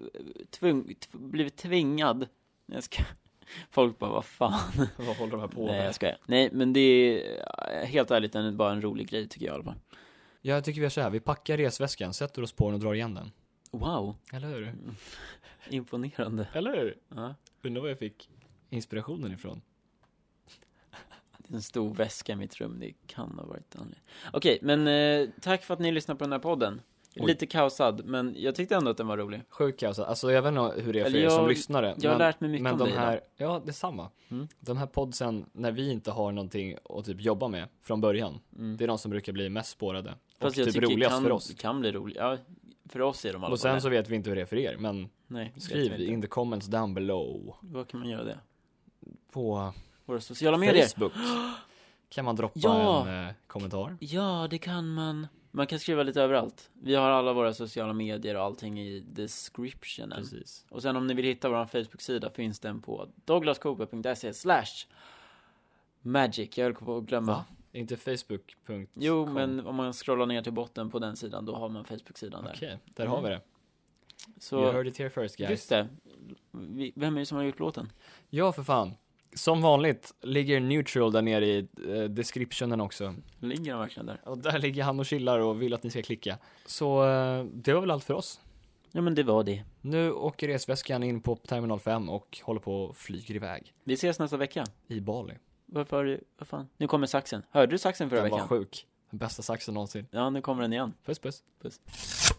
A: tvung, t- blivit tvingad. Jag ska... Folk bara, vad fan.
B: Vad håller de här på
A: Nej, jag skojar. Nej, men det är eh, helt ärligt en, bara en rolig grej tycker jag i alla fall.
B: Ja, jag tycker vi gör så här. Vi packar resväskan, sätter oss på den och drar igen den.
A: Wow,
B: Eller hur?
A: imponerande.
B: Eller hur?
A: Ja,
B: Undrar var jag fick inspirationen ifrån.
A: det är en stor väska i mitt rum, det kan ha varit anledningen. Okej, men eh, tack för att ni lyssnar på den här podden.
B: Oj.
A: Lite kaosad, men jag tyckte ändå att den var rolig.
B: Sjuk alltså. Alltså jag vet inte hur det är för
A: Eller
B: er som
A: jag-
B: lyssnare.
A: jag har lärt mig mycket
B: men
A: om
B: de
A: dig
B: här, Ja, detsamma.
A: Mm.
B: De här podsen, när vi inte har någonting att typ jobba med från början.
A: Mm.
B: Det är de som brukar bli mest spårade.
A: Fast
B: och
A: jag
B: typ
A: tycker det
B: roligast
A: kan,
B: för oss.
A: kan bli roligt. Ja, för oss är de i alla
B: Och
A: fall
B: sen
A: det.
B: så vet vi inte hur det är för er, men
A: Nej, vet
B: skriv
A: jag inte.
B: in the comments down below.
A: Vad kan man göra det?
B: På
A: Våra sociala medier?
B: Facebook kan man droppa
A: Ja!
B: en eh, kommentar.
A: Ja, det kan man. Man kan skriva lite överallt. Vi har alla våra sociala medier och allting i descriptionen.
B: Precis.
A: Och sen om ni vill hitta vår Facebook-sida finns den på douglascooper.se slash magic. Jag höll på att glömma.
B: Va? Är Inte Facebook.
A: Jo, men om man scrollar ner till botten på den sidan, då har man Facebook-sidan
B: Okej,
A: där.
B: där Mm. har vi det. You
A: Så,
B: heard it here first guys.
A: just det. Vi- Vem är det som har gjort låten?
B: Ja, för fan. Som vanligt ligger neutral där nere i eh, descriptionen också.
A: Ligger den verkligen där?
B: Och där ligger han och chillar och vill att ni ska klicka. Så eh, det var väl allt för oss.
A: Ja, men det var det.
B: Nu åker resväskan in på terminal 5 och håller på och flyger iväg
A: Vi ses nästa vecka.
B: i Bali.
A: Varför, vad fan? Nu kommer saxen. Hörde du saxen förra
B: Den var
A: veckan?
B: sjuk. Den bästa saxen någonsin.
A: Ja, nu kommer den igen.
B: Puss puss.